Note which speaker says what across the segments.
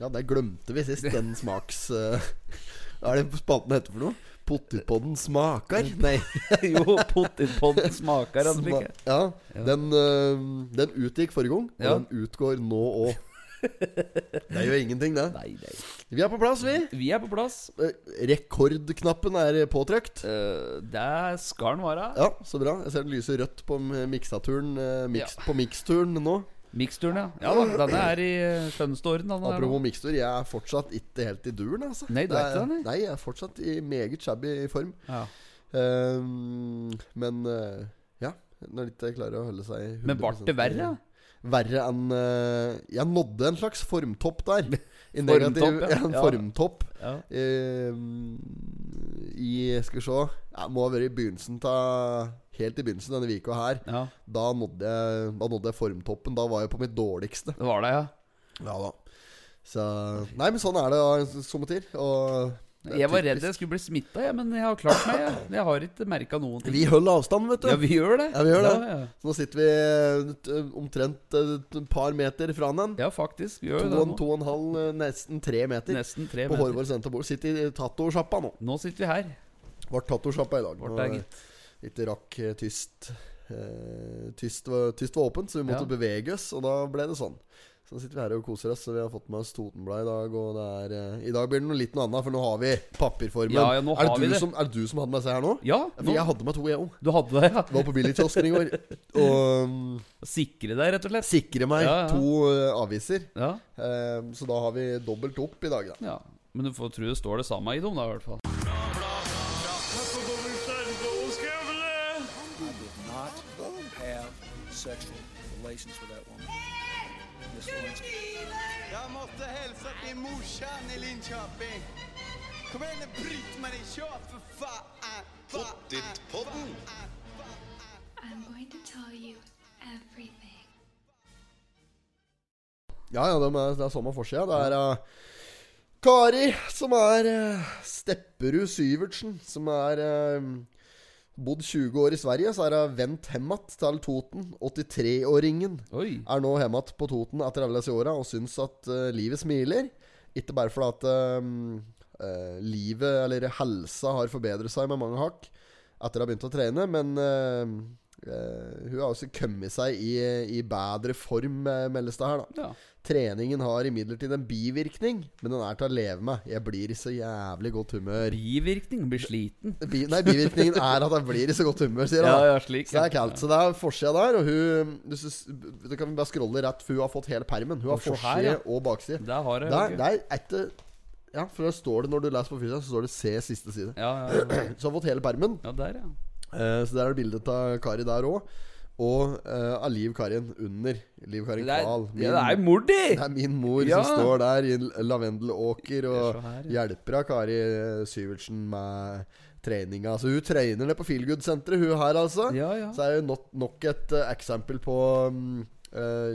Speaker 1: Ja, det glemte vi sist, den smaks... eh, Hva er det spalten heter for noe? Pottipodden smaker? Nei.
Speaker 2: jo, potetpodden smaker altså,
Speaker 1: Sma
Speaker 2: ikke?
Speaker 1: ja,
Speaker 2: Ja.
Speaker 1: den, eh, den utgikk forrige gang, og
Speaker 2: Ja.
Speaker 1: den utgår nå òg. Det gjør ingenting, det.
Speaker 2: Nei, nei.
Speaker 1: Vi er på plass, vi.
Speaker 2: Vi er på plass.
Speaker 1: Eh, Rekordknappen er påtrykt.
Speaker 2: Eh, det skal den være.
Speaker 1: Ja, så bra. Jeg ser den lyser rødt på m- mikstaturen eh, miks, På miksturen nå.
Speaker 2: Miksturen, ja. Ja da, Denne er i eh, skjønneste orden. denne her.
Speaker 1: Apropos mikstur, jeg er fortsatt ikke helt i duren, altså.
Speaker 2: Nei, du er ikke det, nei?
Speaker 1: Nei, jeg er fortsatt i meget shabby form.
Speaker 2: Ja.
Speaker 1: Ehm, men eh, ja, når de ikke klarer å holde seg 100
Speaker 2: Men ble det verre?
Speaker 1: Verre enn eh, Jeg nådde en slags formtopp der. I
Speaker 2: Formtopp,
Speaker 1: negativ,
Speaker 2: ja.
Speaker 1: ja. En
Speaker 2: Ja.
Speaker 1: formtopp.
Speaker 2: Ja.
Speaker 1: Ehm, I Skal vi se ja, Må ha vært i begynnelsen av Helt i begynnelsen denne vika her.
Speaker 2: ja.
Speaker 1: Da nådde, jeg, da nådde jeg formtoppen. Da var jeg på mitt dårligste.
Speaker 2: Det var det, ja.
Speaker 1: Ja da. Så Nei, men sånn er det ja, somme tider. Og det er
Speaker 2: Jeg var
Speaker 1: typisk.
Speaker 2: redd jeg skulle bli smitta, jeg, men jeg har klart meg. Jeg, jeg har ikke merka noen ting.
Speaker 1: Vi holder avstand, vet du.
Speaker 2: Ja, vi gjør det.
Speaker 1: Ja, vi gjør det.
Speaker 2: Ja, ja.
Speaker 1: Så nå sitter vi eh, t- omtrent eh, et par meter fra den.
Speaker 2: ja faktisk. Vi gjør
Speaker 1: To
Speaker 2: jo det
Speaker 1: og,
Speaker 2: nå.
Speaker 1: to og en halv, eh, nesten tre meter.
Speaker 2: Nesten tre
Speaker 1: På
Speaker 2: meter.
Speaker 1: Hårvard senterbord. Sitter i tatosjappa nå.
Speaker 2: Nå sitter vi her.
Speaker 1: Ble tatosjappa i dag.
Speaker 2: Vårt
Speaker 1: Nå,
Speaker 2: er gitt.
Speaker 1: Ikke rakk eh, tyst. Eh, tyst, var, tyst var åpent, så vi måtte
Speaker 2: Ja.
Speaker 1: bevege oss, og da ble det sånn. Så sitter vi her og koser oss, så vi har fått med oss Totenbladet i dag. Og det er, eh, I dag blir det noe litt noe annet, for nå har vi papirformen.
Speaker 2: Ja, ja, nå
Speaker 1: er,
Speaker 2: har
Speaker 1: det
Speaker 2: vi
Speaker 1: du
Speaker 2: det.
Speaker 1: som, er det du som hadde med seg her nå?
Speaker 2: Ja,
Speaker 1: For
Speaker 2: nå,
Speaker 1: jeg hadde med to, jeg òg.
Speaker 2: du hadde det, ja.
Speaker 1: Var på billigkiosken i går. Og um,
Speaker 2: Sikre deg, rett og slett.
Speaker 1: sikre meg
Speaker 2: Ja, ja.
Speaker 1: to eh, aviser.
Speaker 2: Ja,
Speaker 1: Eh, så da har vi dobbelt opp i dag, da.
Speaker 2: ja. Men du får tro det står det samme i dem, da, i hvert fall.
Speaker 3: I did not have sexual relations with that woman. Miss Lewinsky.
Speaker 4: Jeg måtte hilse til morsan i Linköping. Kom igjen, Britt-Marie, kjør, for faen! Pottitpodden!
Speaker 5: I'm going to tell you everything.
Speaker 1: Ja, ja, det er, det er samme forsida. Det er eh, Kari, som er eh, Stepperud Syvertsen, som er eh, bodd 20 år i Sverige. Så er hun vendt hjem igjen til Toten. 83-åringen
Speaker 2: Oi.
Speaker 1: er nå hjemme igjen på Toten etter alle disse åra og syns at eh, livet smiler. Ikke bare fordi at eh, eh, livet, eller helsa, har forbedret seg med mange hakk etter å ha begynt å trene, men eh, eh, hun har også kommet seg i, i bedre form, eh, meldes det her, da.
Speaker 2: Ja.
Speaker 1: Treningen har imidlertid en bivirkning, men den er til å leve med. Jeg blir i så jævlig godt humør.
Speaker 2: Bivirkning. Blir sliten.
Speaker 1: Bi nei, bivirkningen er at jeg blir i så godt humør, sier
Speaker 2: Ja,
Speaker 1: han.
Speaker 2: ja, slik.
Speaker 1: Så det er kaldt. Så det er forsida der, og hun du, synes- du kan bare scrolle rett, for hun har fått hele permen. Hun har
Speaker 2: Og se her,
Speaker 1: forside
Speaker 2: ja. Mm.
Speaker 1: og bakside.
Speaker 2: Der har jeg
Speaker 1: Der,
Speaker 2: jo ikke-
Speaker 1: der etter Ja, for der står det når du leser på fysisk, så står det 'se siste side'.
Speaker 2: Ja, ja, ja.
Speaker 1: Så hun har fått hele permen.
Speaker 2: ja, der, ja.
Speaker 1: Eh, så der er det bilde av Kari der òg. Og eh, av Liv Karin under. Liv Karin
Speaker 2: Det er,
Speaker 1: Kval.
Speaker 2: ja, det er mor di!
Speaker 1: Det er min mor
Speaker 2: Ja.
Speaker 1: som står der i en lavendelåker og
Speaker 2: Det er så her,
Speaker 1: hjelper av Kari eh, Syvertsen med treninga. Så hun trener ned på Feelgood-senteret, hun her, altså.
Speaker 2: Ja, ja.
Speaker 1: Så er jo nok, nok et eh, eksempel på mm, eh,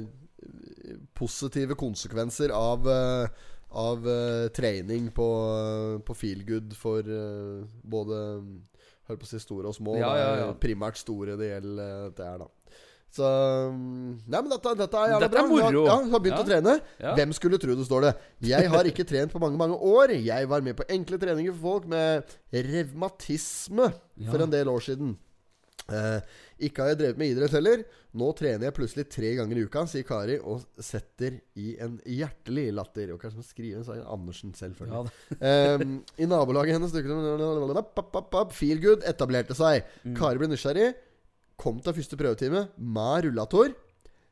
Speaker 1: positive konsekvenser av eh, av eh, trening på, uh, på feelgood for eh, både mm, Hører på å si store og små.
Speaker 2: Ja,
Speaker 1: det er
Speaker 2: ja, ja.
Speaker 1: Primært store det gjelder eh, det her, da. Så mm, Nei, men dette, dette er jævla
Speaker 2: Dette er
Speaker 1: bra.
Speaker 2: moro.
Speaker 1: Ja, hun har begynt
Speaker 2: Ja.
Speaker 1: å trene.
Speaker 2: Ja.
Speaker 1: Hvem skulle tro det, står det. Jeg har ikke trent på mange, mange år. Jeg var med på enkle treninger for folk med revmatisme
Speaker 2: Ja.
Speaker 1: for en del år siden. Eh, ikke har jeg drevet med idrett heller. Nå trener jeg plutselig tre ganger i uka, sier Kari, og setter i en hjertelig latter. Og kanskje skriver så er det Andersen, selvfølgelig.
Speaker 2: Ja, det-
Speaker 1: Ehm, I nabolaget hennes dukket det Feelgood etablerte seg.
Speaker 2: Mm.
Speaker 1: Kari ble nysgjerrig. Kom til første prøvetime med rullator.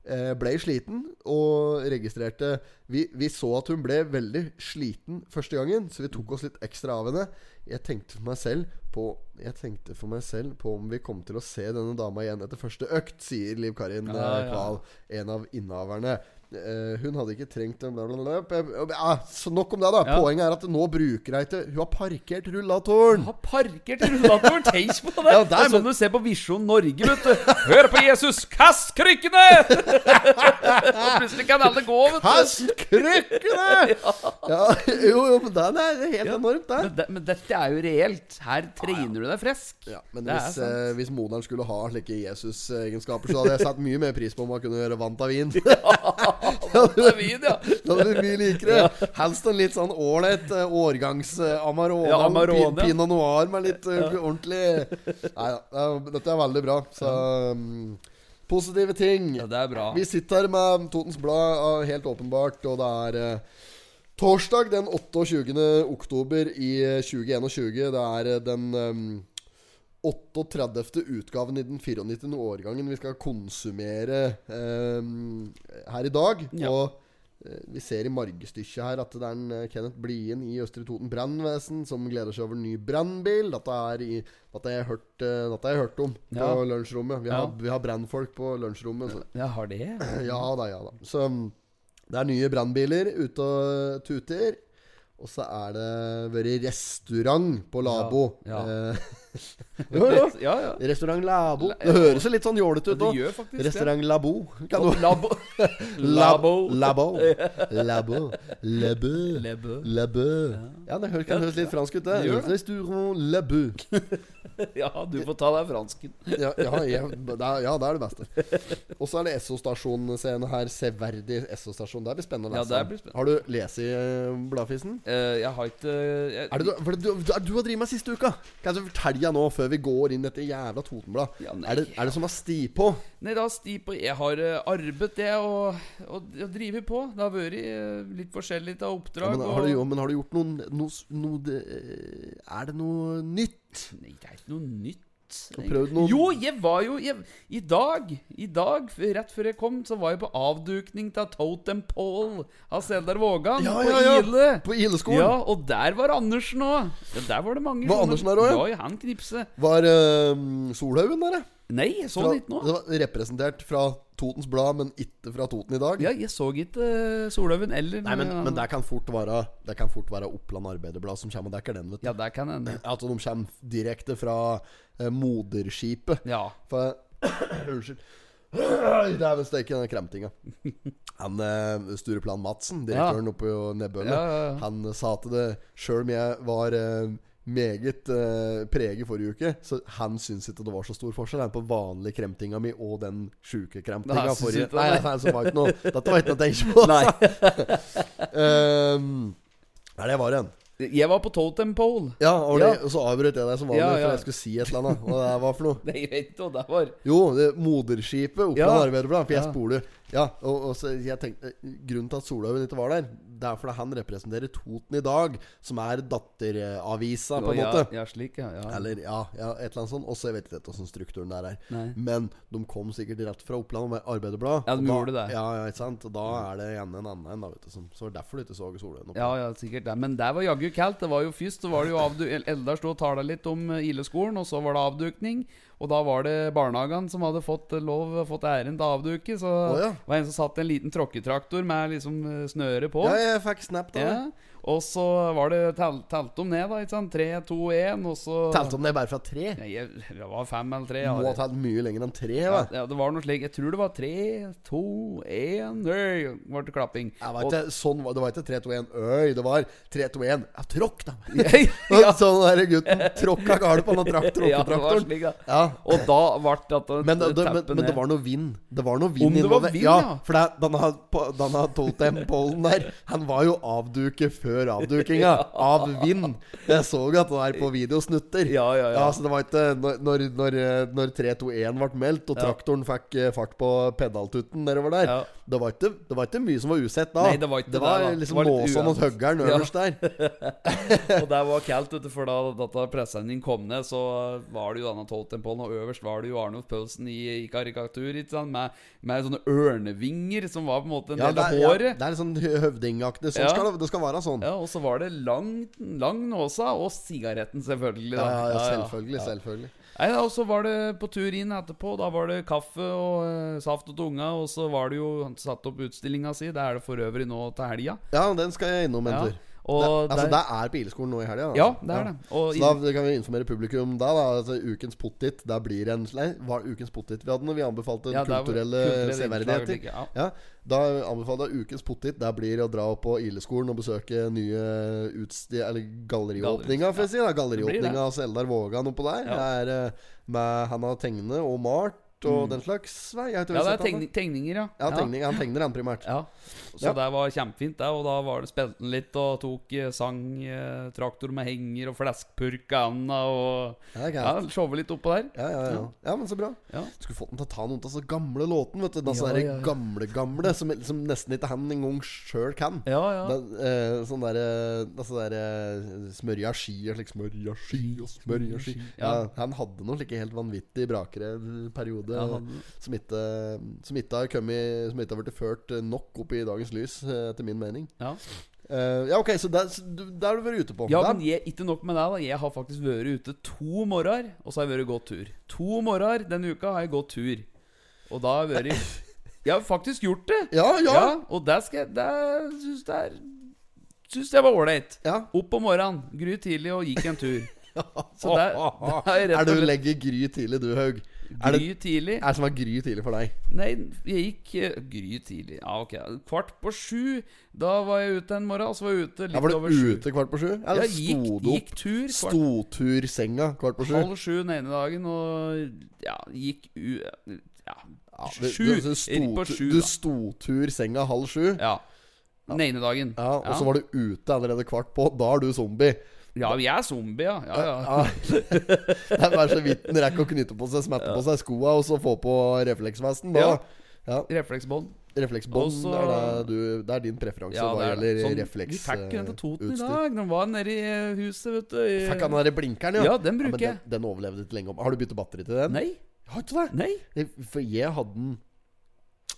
Speaker 1: eh, Ble sliten og registrerte vi, vi så at hun ble veldig sliten første gangen, så vi tok oss litt ekstra av henne. Jeg tenkte for meg selv på Jeg tenkte for meg selv på om vi kom til å se denne dama igjen etter første økt, sier Liv Karin
Speaker 2: Ja,
Speaker 1: eh,
Speaker 2: ja.
Speaker 1: Kval, en av innehaverne. Eh, hun hadde ikke trengt en bla, bla, bla, bla, bla, bla. Ah, Så nok om det, da.
Speaker 2: Ja.
Speaker 1: Poenget er at nå bruker hun ikke Hun har parkert rullatoren.
Speaker 2: har parkert rullatoren. Tenk på det!
Speaker 1: Ja, der,
Speaker 2: det er sånn du ser på Visjon Norge, vet du. Hør på Jesus, kast krykkene! Og plutselig kan alle gå, vet du.
Speaker 1: Kast krykkene! ja, jo, jo, men den er helt enormt, den.
Speaker 2: Men, det, men dette er jo reelt. Her trener du deg frisk.
Speaker 1: Ja, men
Speaker 2: Det er
Speaker 1: hvis,
Speaker 2: sant.
Speaker 1: eh, hvis moderen skulle ha slike Jesus-egenskaper, så hadde jeg satt mye mer pris på om han kunne gjøre vant av vin.
Speaker 2: David, ja.
Speaker 1: Da blir det mye likere. Helst en litt sånn ålreit eh, årgangs eh, Amarone.
Speaker 2: Ja, Amarone.
Speaker 1: Pin- Pinot noir med litt eh, ordentlig Nei da. eh, Dette er veldig bra. Så mm, positive ting.
Speaker 2: ja. Det er bra.
Speaker 1: Vi sitter her med Totens Blad, ah, helt åpenbart, og det er eh, torsdag den 28. oktober i eh, 2021. Det er eh, den eh, 38. utgaven i den 94. årgangen vi skal konsumere eh, her i dag.
Speaker 2: Ja.
Speaker 1: Og eh, vi ser i margestykket her at det er en eh, Kenneth Blien i Østre Toten brannvesen som gleder seg over en ny brannbil. Dette, er i- dette har jeg hørt, eh, dette har jeg hørt om på
Speaker 2: Ja.
Speaker 1: lunsjrommet. Vi
Speaker 2: Ja.
Speaker 1: har, vi har brannfolk på lunsjrommet. Så.
Speaker 2: Jeg har det.
Speaker 1: Ja da, ja da. Så um, det er nye brannbiler ute og tuter. Og så er det vært restaurant på Labo.
Speaker 2: Ja, ja.
Speaker 1: Eh, jo, jo.
Speaker 2: Ja, ja.
Speaker 1: Restaurant Labo. Det høres jo litt sånn jålete ut
Speaker 2: Det
Speaker 1: òg.
Speaker 2: gjør faktisk det.
Speaker 1: Restaurant Labo. Kan du
Speaker 2: Labo. Labo.
Speaker 1: Labo. Labo. Labo. Labo.
Speaker 2: Labo.
Speaker 1: Labo. Ja, det hø- kan høres litt fransk ut, det.
Speaker 2: Det gjør det.
Speaker 1: Restaurant Labo.
Speaker 2: Ja, du får ta deg fransken.
Speaker 1: ja, ja, jeg, det er, ja, det er det beste. Og så er det Esso-stasjonen-scenen her. Severdig Esso-stasjon. Det blir spennende å
Speaker 2: Ja,
Speaker 1: lese.
Speaker 2: det blir spennende.
Speaker 1: Har du lest i eh, bladfisen?
Speaker 2: Eh, jeg har ikke jeg,
Speaker 1: Er det, du, for det, du, du har drevet med siste uka. Kan jeg fortelle deg nå, før vi går inn i dette jævla Totenblad?
Speaker 2: Ja, nei.
Speaker 1: er, det, er det som har sti på?
Speaker 2: Nei, da sti på Jeg har eh, arbeidet, det, og, og, og driver på. Det har vært eh, litt forskjellig
Speaker 1: Ja,
Speaker 2: av oppdrag.
Speaker 1: men, har du, jo,
Speaker 2: og,
Speaker 1: men har du gjort noen noe, s- noe det, eh, Er det noe nytt?
Speaker 2: Nei, det er ikke noe nytt.
Speaker 1: Har du prøvd noen
Speaker 2: Jo, jeg var jo jeg, I dag, i dag, f- rett før jeg kom, så var jeg på avdukning til Totem Pole av Seldar Vågan
Speaker 1: Ja,
Speaker 2: på
Speaker 1: ja, ja.
Speaker 2: Ile.
Speaker 1: På Ileskolen?
Speaker 2: Ja, og der var Andersen òg. Ja, der var det mange.
Speaker 1: Var
Speaker 2: sånne-
Speaker 1: Andersen der også, ja?
Speaker 2: Ja, ja, han knipse.
Speaker 1: Var eh, Solhaugen der, ja?
Speaker 2: Nei, jeg så
Speaker 1: Fra-
Speaker 2: han ikke nå.
Speaker 1: Det var representert fra Totens Blad, men ikke fra Toten i dag?
Speaker 2: Ja, jeg så ikke eh, Solhaugen eller
Speaker 1: Nei, men,
Speaker 2: noe
Speaker 1: men
Speaker 2: annet.
Speaker 1: det kan fort være Det kan fort være Oppland Arbeiderblad som kommer og dekker den. vet du
Speaker 2: Ja, der kan hende.
Speaker 1: At de kommer direkte fra eh, moderskipet.
Speaker 2: Ja.
Speaker 1: For Unnskyld. Dæven steike, den kremtinga. Han eh, Stureplan Madsen, direktøren oppe på Nebbølle,
Speaker 2: Ja, ja, ja.
Speaker 1: han eh, sa til det sjøl om jeg var eh, meget eh, preget forrige uke, så han syntes ikke det var så stor forskjell han på vanlig kremtinga mi og den sjuke
Speaker 2: Nei,
Speaker 1: kremtinga
Speaker 2: han syntes
Speaker 1: forrige
Speaker 2: ikke det,
Speaker 1: Nei,
Speaker 2: nei.
Speaker 1: nei, så var ikke noe Dette var ikke noe å tenke på.
Speaker 2: Nei.
Speaker 1: Ehm, Nei, det var en.
Speaker 2: Jeg var på Totem Pole.
Speaker 1: Ja, og,
Speaker 2: Ja.
Speaker 1: det- og så avbrøt jeg deg som vanlig,
Speaker 2: Ja, ja.
Speaker 1: for jeg skulle si et eller annet. Hva det var for noe?
Speaker 2: Nei, jeg vet ikke hva det var.
Speaker 1: Jo, det moderskipet Oppland
Speaker 2: Ja.
Speaker 1: Arbeiderblad. For jeg
Speaker 2: Ja.
Speaker 1: spoler. Ja, og, og så jeg tenkte Grunnen til at Solhaugen ikke var der, det er fordi han representerer Toten i dag, som er datteravisa, på en
Speaker 2: ja,
Speaker 1: måte.
Speaker 2: Ja, slik, ja. ja.
Speaker 1: Eller ja, ja, et eller annet sånt. Og så vet jeg ikke åssen strukturen der er.
Speaker 2: Nei.
Speaker 1: Men de kom sikkert rett fra Oppland og Arbeiderblad.
Speaker 2: Ja,
Speaker 1: og
Speaker 2: de
Speaker 1: da,
Speaker 2: gjorde det.
Speaker 1: Ja, ja, ikke sant? Og da er det gjerne en annen en, da, vet du. Som, så var det derfor du ikke så Solhaugen opp.
Speaker 2: Ja, ja, sikkert det. Men der var jaggu kaldt. Det var jo først så var det jo avdu Eldar sto og tala litt om eh, Ileskolen, og så var det avdukning. Og da var det barnehagene som hadde fått eh, lov, fått æren til å avduke. Så
Speaker 1: Å, ja.
Speaker 2: det var en som satt i en liten tråkketraktor med liksom eh, snøre på.
Speaker 1: Ja, jeg fikk snap av det.
Speaker 2: Ja. Og så var det telt, telt om ned, da. Ikke sant? Tre, to, én, og så
Speaker 1: Talte om det bare fra tre.
Speaker 2: Nei, jeg, det var fem eller tre.
Speaker 1: Du
Speaker 2: Ja,
Speaker 1: må ha
Speaker 2: det,
Speaker 1: talt mye lenger enn tre.
Speaker 2: ja,
Speaker 1: Ja.
Speaker 2: ja, det var noe slik. Jeg tror det var tre, to, én Øy! Ble det klapping.
Speaker 1: Jeg var
Speaker 2: Og-
Speaker 1: ikke, sånn, var- det var ikke 3-2-1 Øy, det var 3-2-1 Ja, tråkk da
Speaker 2: ja,
Speaker 1: Sånn der gutten tråkka galt på den trakk
Speaker 2: ja, det var
Speaker 1: tråkketraktoren
Speaker 2: slik, da.
Speaker 1: ja.
Speaker 2: Og da ble dette
Speaker 1: men, det, det, men,
Speaker 2: teppet
Speaker 1: men det
Speaker 2: ned.
Speaker 1: var noe vind Det var noe vind
Speaker 2: Om det var
Speaker 1: involver-
Speaker 2: vind,
Speaker 1: ja,
Speaker 2: ja.
Speaker 1: For det, denne, på- denne totempollen der Han var jo avduket før avdukinga Av vind Jeg så at det der sånn på videosnutter
Speaker 2: Ja, ja, ja.
Speaker 1: så det var ikke Når, når, når, når 3-2-1 ble meldt Og
Speaker 2: Ja.
Speaker 1: traktoren fikk eh, fart på pedaltuten nedover der
Speaker 2: Ja.
Speaker 1: det, var ikke, det var ikke mye som var usett da
Speaker 2: Nei, det var ikke
Speaker 1: det
Speaker 2: det,
Speaker 1: var
Speaker 2: da. Det
Speaker 1: liksom
Speaker 2: var litt
Speaker 1: måsene og
Speaker 2: uant.
Speaker 1: høggeren
Speaker 2: Ja.
Speaker 1: øverst der
Speaker 2: Og det var kaldt, vet du, for da dette presenningen kom ned, så var det jo denne Toltenpollen, og øverst var det jo Arnulf Pølsen i, i karikatur, ikke sant, med, med sånne ørnevinger som var på en måte en
Speaker 1: Ja,
Speaker 2: del
Speaker 1: det,
Speaker 2: av
Speaker 1: er, ja, det
Speaker 2: håret.
Speaker 1: er litt sånn hø- høvdingaktig. Sånn
Speaker 2: Ja.
Speaker 1: skal det, det skal være sånn.
Speaker 2: Ja, og så var det lang, lang nåsa, og sigaretten selvfølgelig.
Speaker 1: Ja,
Speaker 2: da.
Speaker 1: ja, ja,
Speaker 2: Ja, ja.
Speaker 1: selvfølgelig. selvfølgelig
Speaker 2: Nei, da, og så var det på tur inn etterpå, da var det kaffe og eh, saft og tunga, og så var det jo, han satt opp utstillingen sin, det er det for øvrig nå til helgen.
Speaker 1: Ja, den skal jeg innom en
Speaker 2: Ja,
Speaker 1: tur.
Speaker 2: og
Speaker 1: det, altså,
Speaker 2: der-
Speaker 1: det er bileskolen nå i helga.
Speaker 2: Ja, det er det. Og
Speaker 1: Så da kan vi informere publikum da, da altså, Ukens pottit Der blir en Nei, var det ukens pottit vi hadde når vi anbefalte
Speaker 2: Ja, det var
Speaker 1: kulturelle
Speaker 2: kulturelle
Speaker 1: severdigheter?
Speaker 2: innslag, ja.
Speaker 1: Ja. Da anbefaler jeg ukens pottit Der blir å dra opp på Ileskolen og besøke nye utsti... Eller galleriåpninga, får jeg si. da Galleriåpninga
Speaker 2: det.
Speaker 1: hos Eldar Vågan oppå der.
Speaker 2: Ja.
Speaker 1: Det er eh, med Hanna Tegne og Mart. og den slags. Nei, jeg tror jeg
Speaker 2: Mm. Ja, det
Speaker 1: har
Speaker 2: er
Speaker 1: sett han,
Speaker 2: tegning, tegninger, ja.
Speaker 1: Ja, tegning, han tegner han primært.
Speaker 2: Ja. Så
Speaker 1: Ja.
Speaker 2: det var kjempefint, det. Og da var det spilte han litt og tok eh, sang, eh, traktor med henger og fleskpurk av handa og
Speaker 1: Ja, det er
Speaker 2: Ja,
Speaker 1: greit.
Speaker 2: showe litt oppå der.
Speaker 1: Ja, ja, ja. ja, men så bra.
Speaker 2: Ja.
Speaker 1: Skulle fått den til å ta noen av så gamle låten, vet du. Den
Speaker 2: Ja,
Speaker 1: sånne
Speaker 2: ja, ja.
Speaker 1: gamle-gamle som, som nesten ikke han engang sjøl kan.
Speaker 2: Ja, ja.
Speaker 1: Den, eh, sånn derre eh, altså der, eh, Smørja ski og slik smørja ski og smørja ski. Ja.
Speaker 2: Ja.
Speaker 1: han hadde noen slike helt vanvittig brakere en periode
Speaker 2: Ja, han-
Speaker 1: som ikke Som ikke har kommet Som ikke har blitt ført nok opp i dagens lys, eh, etter min mening.
Speaker 2: ja.
Speaker 1: Eh, ja, ok, så der, så du- der har du vært ute på.
Speaker 2: ja
Speaker 1: Der-
Speaker 2: men jeg, ikke nok med det. da Jeg har faktisk vært ute to morgener, og så har jeg vært gått tur. To morgener denne uka har jeg gått tur. Og da har jeg vært Jeg har faktisk gjort det!
Speaker 1: ja, ja, ja.
Speaker 2: og det skal jeg Det syns jeg er Syns jeg var ålreit.
Speaker 1: ja.
Speaker 2: Opp om morgenen, gry tidlig og gikk en tur. Så det, det er
Speaker 1: Er
Speaker 2: rett
Speaker 1: det
Speaker 2: og
Speaker 1: du
Speaker 2: slett
Speaker 1: legger gry tidlig, du, Haug? Er det
Speaker 2: gry tidlig.
Speaker 1: er det som er gry tidlig for deg?
Speaker 2: Nei, jeg gikk eh, gry tidlig. Ja, ok. Kvart på sju. Da var jeg ute en morgen, og så var jeg ute litt
Speaker 1: Ja, var du
Speaker 2: over sju.
Speaker 1: ute kvart på sju?
Speaker 2: Ja,
Speaker 1: Eller
Speaker 2: gikk,
Speaker 1: sto du opp?
Speaker 2: gikk tur. Kvart
Speaker 1: Stotursenga kvart på sju?
Speaker 2: halv sju den ene dagen, og ja, gikk u... Ja.
Speaker 1: Ja, du-
Speaker 2: Sju.
Speaker 1: Du, du,
Speaker 2: Gikk på
Speaker 1: stotu-
Speaker 2: sju,
Speaker 1: du
Speaker 2: da.
Speaker 1: stotur senga halv sju.
Speaker 2: Ja. Den ene dagen.
Speaker 1: Ja, og så var du ute allerede kvart på. Da er du zombie.
Speaker 2: Ja, jeg er zombie, ja. ja, ja.
Speaker 1: Ja. det er bare så vidt den rekker å knytte på seg, smette på seg skoa og så få på refleksvesten. Da.
Speaker 2: Ja.
Speaker 1: Ja.
Speaker 2: Refleksbånd.
Speaker 1: Refleksbånd
Speaker 2: Og så-
Speaker 1: er, det du, det er din preferanse
Speaker 2: Ja,
Speaker 1: hva
Speaker 2: det er det.
Speaker 1: gjelder
Speaker 2: Sånn, Vi fikk jo den til Toten i
Speaker 1: refleksutstyr.
Speaker 2: dag. Den var nede i eh, huset, vet du. i-
Speaker 1: Fikk han den der blinkeren,
Speaker 2: Ja, den bruker
Speaker 1: men
Speaker 2: jeg.
Speaker 1: Den, den overlevde ikke lenge. om. Har du byttet batteri til den?
Speaker 2: Nei.
Speaker 1: Har ikke det?
Speaker 2: Nei.
Speaker 1: Jeg- For jeg hadde den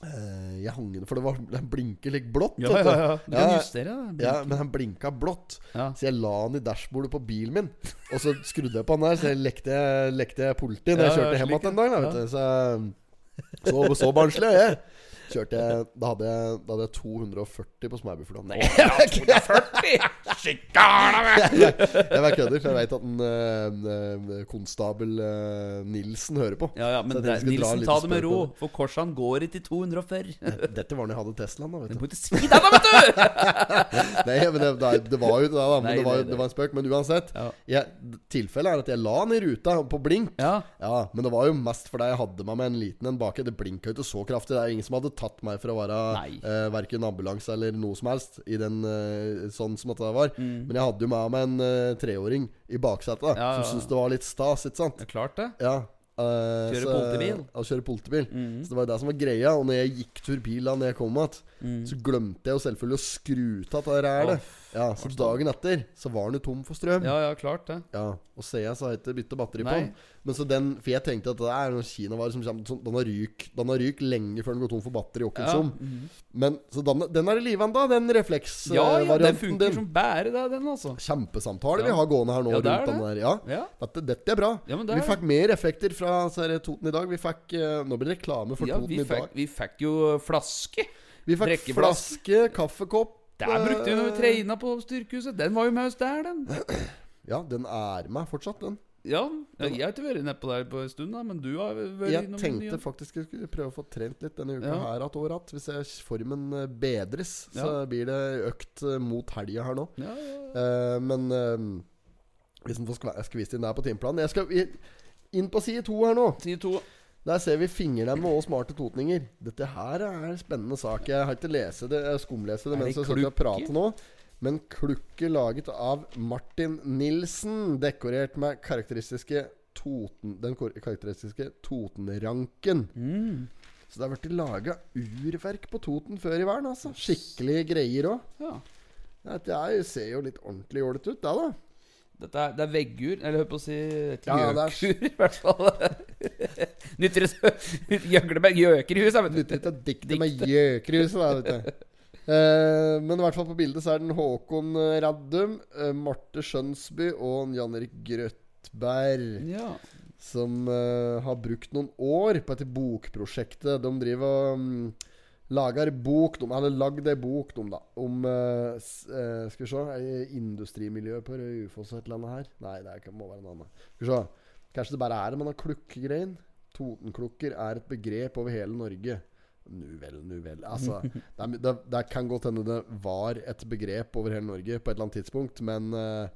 Speaker 1: eh, Jeg hang den For det var, den blinker litt blått.
Speaker 2: Ja,
Speaker 1: vet du.
Speaker 2: ja, ja. Du kan
Speaker 1: Ja.
Speaker 2: justere det.
Speaker 1: Ja, men den blinka blått.
Speaker 2: Ja.
Speaker 1: Så jeg la den i dashbordet på bilen min. Og så skrudde jeg på den der, så jeg lekte, lekte politi da
Speaker 2: Ja,
Speaker 1: jeg
Speaker 2: ja,
Speaker 1: kjørte hjem
Speaker 2: slik,
Speaker 1: igjen den dagen. da, Vet du. Så, så, så barnslig er jeg. Kjørte jeg Da hadde jeg, da hadde jeg 240 på Smørbyflå. Nei, jeg bare kødder, for jeg vet at en eh, eh, konstabel eh, Nilsen hører på.
Speaker 2: Ja, ja, men
Speaker 1: Så jeg
Speaker 2: det,
Speaker 1: tenkte jeg skulle dra en
Speaker 2: Nilsen,
Speaker 1: liten
Speaker 2: ta det med
Speaker 1: spøk
Speaker 2: ro,
Speaker 1: på
Speaker 2: for Korsan går ikke i 240.
Speaker 1: det. Dette var når jeg hadde Teslaen, da. vet du
Speaker 2: Den må ikke si det, da, vet du!
Speaker 1: Nei, men det, nei, det var jo det, da. Men
Speaker 2: Nei,
Speaker 1: det, var,
Speaker 2: nei,
Speaker 1: jo-
Speaker 2: nei.
Speaker 1: det var en spøk. Men uansett.
Speaker 2: Ja.
Speaker 1: Jeg, tilfellet er at jeg la den i ruta på blink.
Speaker 2: Ja.
Speaker 1: Ja, Men det var jo mest fordi jeg hadde meg med en liten en baki. Det blinka jo ikke så kraftig. Det er jo ingen som hadde tatt meg for å være
Speaker 2: Nei.
Speaker 1: eh, verken ambulanse eller noe som helst i den eh, sånn som dette var.
Speaker 2: Mm.
Speaker 1: Men jeg hadde jo med meg en eh, treåring i baksetet da,
Speaker 2: Ja, ja,
Speaker 1: som
Speaker 2: ja.
Speaker 1: syntes det var litt stas, ikke sant?
Speaker 2: Det er klart, det.
Speaker 1: Ja. eh,
Speaker 2: Kjøre
Speaker 1: så-
Speaker 2: politibil. Mm.
Speaker 1: Ja, kjøre politibil. Så det var jo det som var greia. Og når jeg gikk tur bil da når jeg kom igjen,
Speaker 2: Mm.
Speaker 1: så glemte jeg jo selvfølgelig å skru av dette her. det. Ja, så dagen etter så var den jo tom for strøm.
Speaker 2: Ja, ja, klart det.
Speaker 1: Ja, og Sea så har jeg ikke bytta batteri på
Speaker 2: Nei.
Speaker 1: den. Men så den, For jeg tenkte at det er noen kinavarer som kommer sånn, Den har ryk Den har ryk lenge før den går tom for batteri. og
Speaker 2: Ja,
Speaker 1: konsum. Men Så den, den er i live ennå, den
Speaker 2: ja, ja den
Speaker 1: refleksvarianten
Speaker 2: funker som bære, det, den, altså.
Speaker 1: Kjempesamtale
Speaker 2: Ja.
Speaker 1: vi har gående her nå
Speaker 2: Ja, det er
Speaker 1: rundt den
Speaker 2: det.
Speaker 1: der. Ja.
Speaker 2: Ja.
Speaker 1: Dette, dette er bra.
Speaker 2: Ja, men det
Speaker 1: vi
Speaker 2: er-
Speaker 1: fikk mer effekter fra så er det Toten i dag. Vi fikk eh, Nå blir det reklame for
Speaker 2: ja
Speaker 1: Toten
Speaker 2: vi,
Speaker 1: i
Speaker 2: fikk,
Speaker 1: dag.
Speaker 2: vi fikk jo flaske.
Speaker 1: Vi fikk
Speaker 2: drikkeblass.
Speaker 1: flaske, kaffekopp
Speaker 2: Der brukte vi når vi
Speaker 1: eh,
Speaker 2: treina på styrkehuset. Den var jo med oss der, den.
Speaker 1: Ja, den er med fortsatt, den.
Speaker 2: Ja, ja, jeg har ikke vært nedpå der på en stund, da, men du har vært
Speaker 1: Jeg
Speaker 2: innom
Speaker 1: tenkte
Speaker 2: mye.
Speaker 1: faktisk jeg skulle prøve å få trent litt denne uka
Speaker 2: Ja.
Speaker 1: her at år att. Hvis jeg formen eh, bedres, så
Speaker 2: Ja.
Speaker 1: blir det økt eh, mot helga her nå.
Speaker 2: Ja, ja.
Speaker 1: Eh, men eh, hvis en får skve- skvist inn der på timeplanen Jeg skal i- inn på side to her nå.
Speaker 2: Side to.
Speaker 1: Der ser vi fingernem og smarte totninger. Dette her er en spennende sak. Jeg har ikke lese det, jeg skumlese det
Speaker 2: Er
Speaker 1: mens
Speaker 2: det
Speaker 1: jeg sitter og
Speaker 2: klukke?
Speaker 1: prater nå. Men klukke laget av Martin Nilsen, dekorert med karakteristiske toten, den kor- karakteristiske Totenranken. Så det har blitt laga urverk på Toten før i verden, altså. Skikkelige greier òg.
Speaker 2: Ja.
Speaker 1: Det er jo- ser jo litt ordentlig jålete ut, det, da.
Speaker 2: Dette er, det er veggur, eller hør på å si et
Speaker 1: Ja, det er-
Speaker 2: gjøkur, i hvert fall. Nytter det så Gjøgle med gjøker i huset, vet du.
Speaker 1: Nyttig til å dikte med gjøkruset, da, vet du. Eh, men i hvert fall på bildet så er den Håkon eh, Raddum, eh, Marte Skjønsby og en Jan Erik Grøtberg
Speaker 2: Ja.
Speaker 1: som eh, har brukt noen år på dette bokprosjektet. De driver og mm, lager bok, de hadde lagd ei bok de, da, om eh, s- eh, Skal vi se eh, Industrimiljøet på Raufoss og et eller annet her? Nei, det er ikke- må være en annen. Skal vi se. Kanskje det bare er det, men den klukkegreien Totenklukker er et begrep over hele Norge. Nu vel, nu vel. Altså, det, er, det, det kan godt hende det var et begrep over hele Norge på et eller annet tidspunkt, men eh,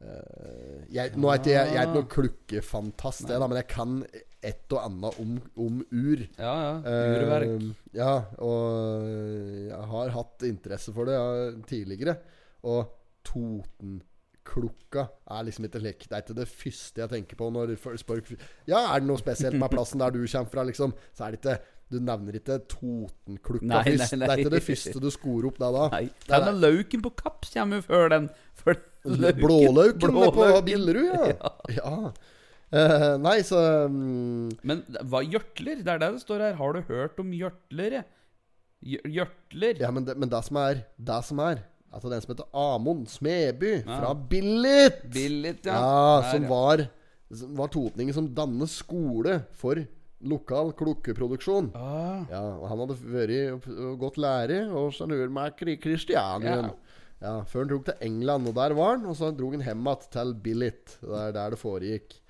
Speaker 1: eh, jeg, Nå er ikke jeg, jeg er ikke noen klukkefantast, jeg, da, men jeg kan et og annet om, om ur.
Speaker 2: Ja, ja. Urverk.
Speaker 1: Eh, ja, og eh, jeg har hatt interesse for det ja, tidligere. Og Totenklokka er liksom ikke slik Det er ikke det første jeg tenker på når folk spør Ja, er det noe spesielt med plassen der du kommer fra, liksom? Så er det ikke Du nevner ikke Totenklokka
Speaker 2: Nei, nei,
Speaker 1: først. Det
Speaker 2: nei.
Speaker 1: er ikke det første du skorer opp der da.
Speaker 2: Nei. Den med lauken på Kapp kommer jo før den. Før lauken.
Speaker 1: Blålauken nede på
Speaker 2: Blålauken.
Speaker 1: Billerud, ja. ja. Eh, nei, så mm,
Speaker 2: Men hva hjørtler? Det er det det står her. Har du hørt om hjørtler? Hjør- Hjørtler?
Speaker 1: Ja, men det, men det som er Det som er Altså den som heter Amon Smeby fra Billit.
Speaker 2: Billit,
Speaker 1: ja.
Speaker 2: ja. Der,
Speaker 1: som
Speaker 2: ja.
Speaker 1: var Som var totningen som dannet skole for lokal klokkeproduksjon.
Speaker 2: Ah,
Speaker 1: Ja, og han hadde vært opp- og gått lære hos en urmaker i Kristiania.
Speaker 2: Ja.
Speaker 1: Ja, før han dro til England, og der var han. Og så dro han hjem igjen til Billit. Det er der det foregikk.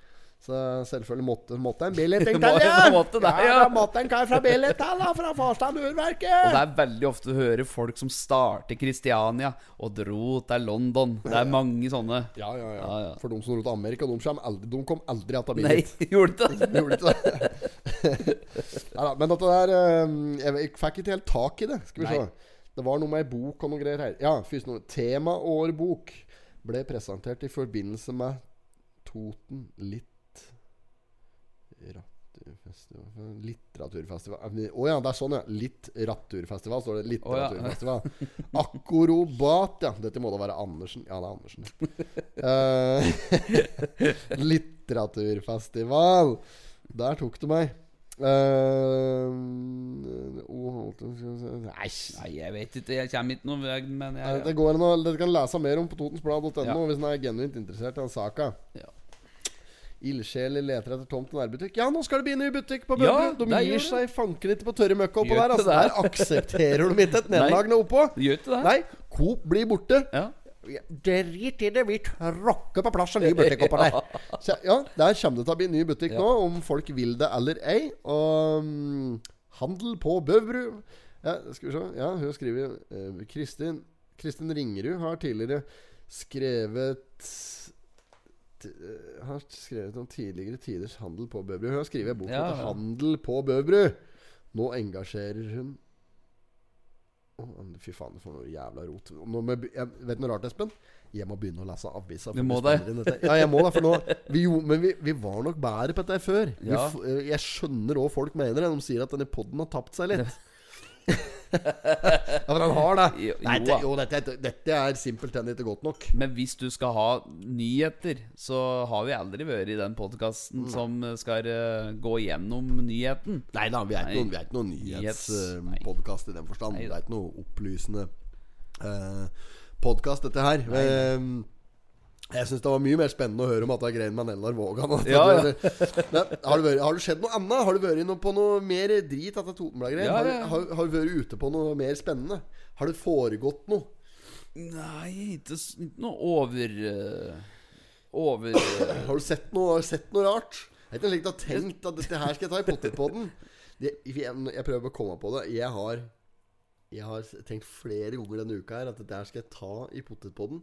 Speaker 1: Så selvfølgelig måtte, måtte en Billit
Speaker 2: Det
Speaker 1: til,
Speaker 2: må-
Speaker 1: ja!
Speaker 2: det måtte det,
Speaker 1: ja!
Speaker 2: ja.
Speaker 1: Da måtte en kar fra Billit til, da! Fra Farstad Urverket!
Speaker 2: Og det er veldig ofte du hører folk som starter Kristiania og dro til London. Det er mange sånne.
Speaker 1: Ja, ja, ja.
Speaker 2: Ja, ja.
Speaker 1: For de som dro til Amerika, de, kommer aldri, de kom aldri att av
Speaker 2: Nei,
Speaker 1: bilen.
Speaker 2: gjorde det det?
Speaker 1: De gjorde ikke det. Neida, men dette der eh, Jeg vet- jeg fikk ikke helt tak i det. Skal vi
Speaker 2: Nei.
Speaker 1: se. Det var noe med ei bok og noe greier her. Ja, først noe. Temaårbok ble presentert i forbindelse med Toten litt Ratturfestival Litteraturfestival Å ja, det er sånn, ja. Litteraturfestival, står det. Litteraturfestival. Akrobat, ja. Dette må da være Andersen. Ja, det er Andersen. Eh, litteraturfestival. Der tok du meg. Eh, oh, nei,
Speaker 2: Nei, jeg vet ikke. Jeg kommer ikke noen vei, men
Speaker 1: Nei,
Speaker 2: jeg
Speaker 1: Det går an å Dere kan lese mer om på totensblad.no
Speaker 2: Ja.
Speaker 1: hvis en er genuint interessert i den saka.
Speaker 2: Ja.
Speaker 1: Ildsjeler leter etter tomt nærbutikk. Ja, nå skal det bli ny butikk på Bømlo!
Speaker 2: Ja,
Speaker 1: de
Speaker 2: der gjør
Speaker 1: gir
Speaker 2: det.
Speaker 1: seg fanken ikke på tørre møkka oppå
Speaker 2: Gjør
Speaker 1: der.
Speaker 2: ikke
Speaker 1: Altså, der aksepterer de ikke et nederlag nå oppå.
Speaker 2: Gjør ikke det?
Speaker 1: Nei, Coop blir borte.
Speaker 2: Ja.
Speaker 1: Drit i det, vi tråkker på plass en ny butikk oppå der. Så, ja, der kommer det til å bli ny butikk nå, om folk vil det eller ei. Og mm, handel på Bøvru. Ja, skal vi se. Ja, hun skriver eh, Kristin Kristin Ringerud har tidligere skrevet t- eh, Har skrevet om tidligere tiders handel på Bøvru. Hun har skrevet en bok som
Speaker 2: Ja,
Speaker 1: heter
Speaker 2: ja.
Speaker 1: 'Handel på Bøvru'. Nå engasjerer hun Å, Fy faen, for noe jævla rot. Nå må jeg, be- jeg, vet du noe rart, Espen? Jeg må begynne å lese avisa. for
Speaker 2: Du må
Speaker 1: det
Speaker 2: det.
Speaker 1: spiller inn dette. Ja, jeg må det. For nå vi, jo, Men vi, vi var nok bedre på dette før. Vi
Speaker 2: Ja.
Speaker 1: f- eh, jeg skjønner hva folk mener. De sier at denne poden har tapt seg litt. ja, men han har det.
Speaker 2: Jo,
Speaker 1: Nei,
Speaker 2: jo,
Speaker 1: det,
Speaker 2: da.
Speaker 1: jo dette, dette er simpelthen ikke godt nok.
Speaker 2: Men hvis du skal ha nyheter, så har vi aldri vært i den podkasten som skal eh, gå gjennom nyheten.
Speaker 1: Nei da, vi er
Speaker 2: Nei.
Speaker 1: ikke noen, vi er ikke noen
Speaker 2: Nyhets- nei.
Speaker 1: nyhetspodkast i den forstand.
Speaker 2: Nei
Speaker 1: Det
Speaker 2: da.
Speaker 1: er ikke noe opplysende uh, podkast, dette her. Ehm, jeg syns det var mye mer spennende å høre om at det er greien med Nellar Vågan. og at
Speaker 2: Ja, ja.
Speaker 1: det- Men har, du vært, har det skjedd noe annet? Har du vært noe på noe mer drit etter Totenblad-greien?
Speaker 2: Ja,
Speaker 1: Har,
Speaker 2: ja.
Speaker 1: du- har, har du vært ute på noe mer spennende? Har det foregått noe?
Speaker 2: Nei, ikke, s- ikke noe over eh, Over eh,
Speaker 1: Har du sett noe, har du sett noe rart? Det er ikke slik du har tenkt at dette her skal jeg ta i potetpodden. Det, jeg, jeg prøver å komme på det. Jeg har, jeg har tenkt flere ganger denne uka her at dette her skal jeg ta i potetpodden.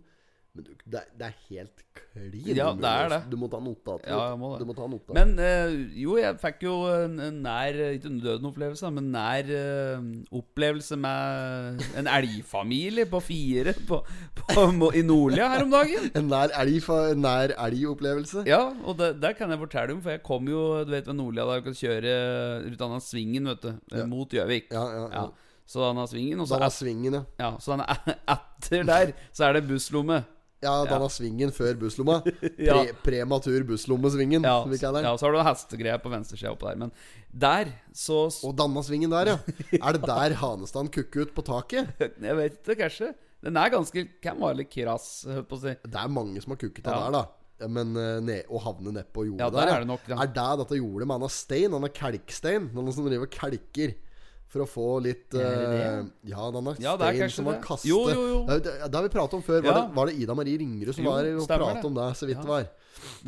Speaker 1: Men du, det, er- det er helt klin.
Speaker 2: Ja, det
Speaker 1: umulig.
Speaker 2: er det.
Speaker 1: Du må ta notat.
Speaker 2: Ja, jeg må det.
Speaker 1: Du må ta notat.
Speaker 2: Men eh, jo, jeg fikk jo en en nær Ikke en døden opplevelse, da, men nær eh, opplevelse med en elgfamilie på fire på, på, Mo- i Nordlia her om dagen.
Speaker 1: en nær elg fa- en nær elg-opplevelse.
Speaker 2: Ja, og det, det kan jeg fortelle om, for jeg kom jo Du vet ved Nordlia der du kan kjøre ut av den svingen, vet du, eh, mot Gjøvik.
Speaker 1: Ja, ja, ja.
Speaker 2: Ja. Så den har svingen, og så,
Speaker 1: Danna
Speaker 2: et,
Speaker 1: svingen, ja.
Speaker 2: ja, så den er etter der, så er det busslomme.
Speaker 1: Ja, danna svingen før busslomma.
Speaker 2: Ja.
Speaker 1: Pre, prematur busslommesvingen,
Speaker 2: Ja,
Speaker 1: som vi kaller den.
Speaker 2: ja, så har du hestegreier på venstresida oppå der. Men der så
Speaker 1: Og Dannasvingen der, ja. Er det der Hanestad kukker ut på taket?
Speaker 2: Jeg vet ikke, kanskje. Den er ganske Kan være litt krass, holdt på å si.
Speaker 1: Det er mange som har kukket av
Speaker 2: Ja.
Speaker 1: der, da. Ja, Men eh, ne, å havne nedpå jordet
Speaker 2: Ja, der er det nok, ja.
Speaker 1: Er det dette jordet med han har stein? Han har kalkstein. Han som driver og kalker. For å få litt eh, Ja, han har
Speaker 2: Ja, det er
Speaker 1: stein
Speaker 2: kanskje
Speaker 1: som han
Speaker 2: det.
Speaker 1: kaster.
Speaker 2: Jo, jo, jo.
Speaker 1: Det, er jo det- det har vi pratet om før. Var,
Speaker 2: Ja.
Speaker 1: det, var det Ida Marie Ringerud som
Speaker 2: Jo,
Speaker 1: var og
Speaker 2: stemmer
Speaker 1: pratet
Speaker 2: det.
Speaker 1: om det, så vidt
Speaker 2: Ja.
Speaker 1: det var?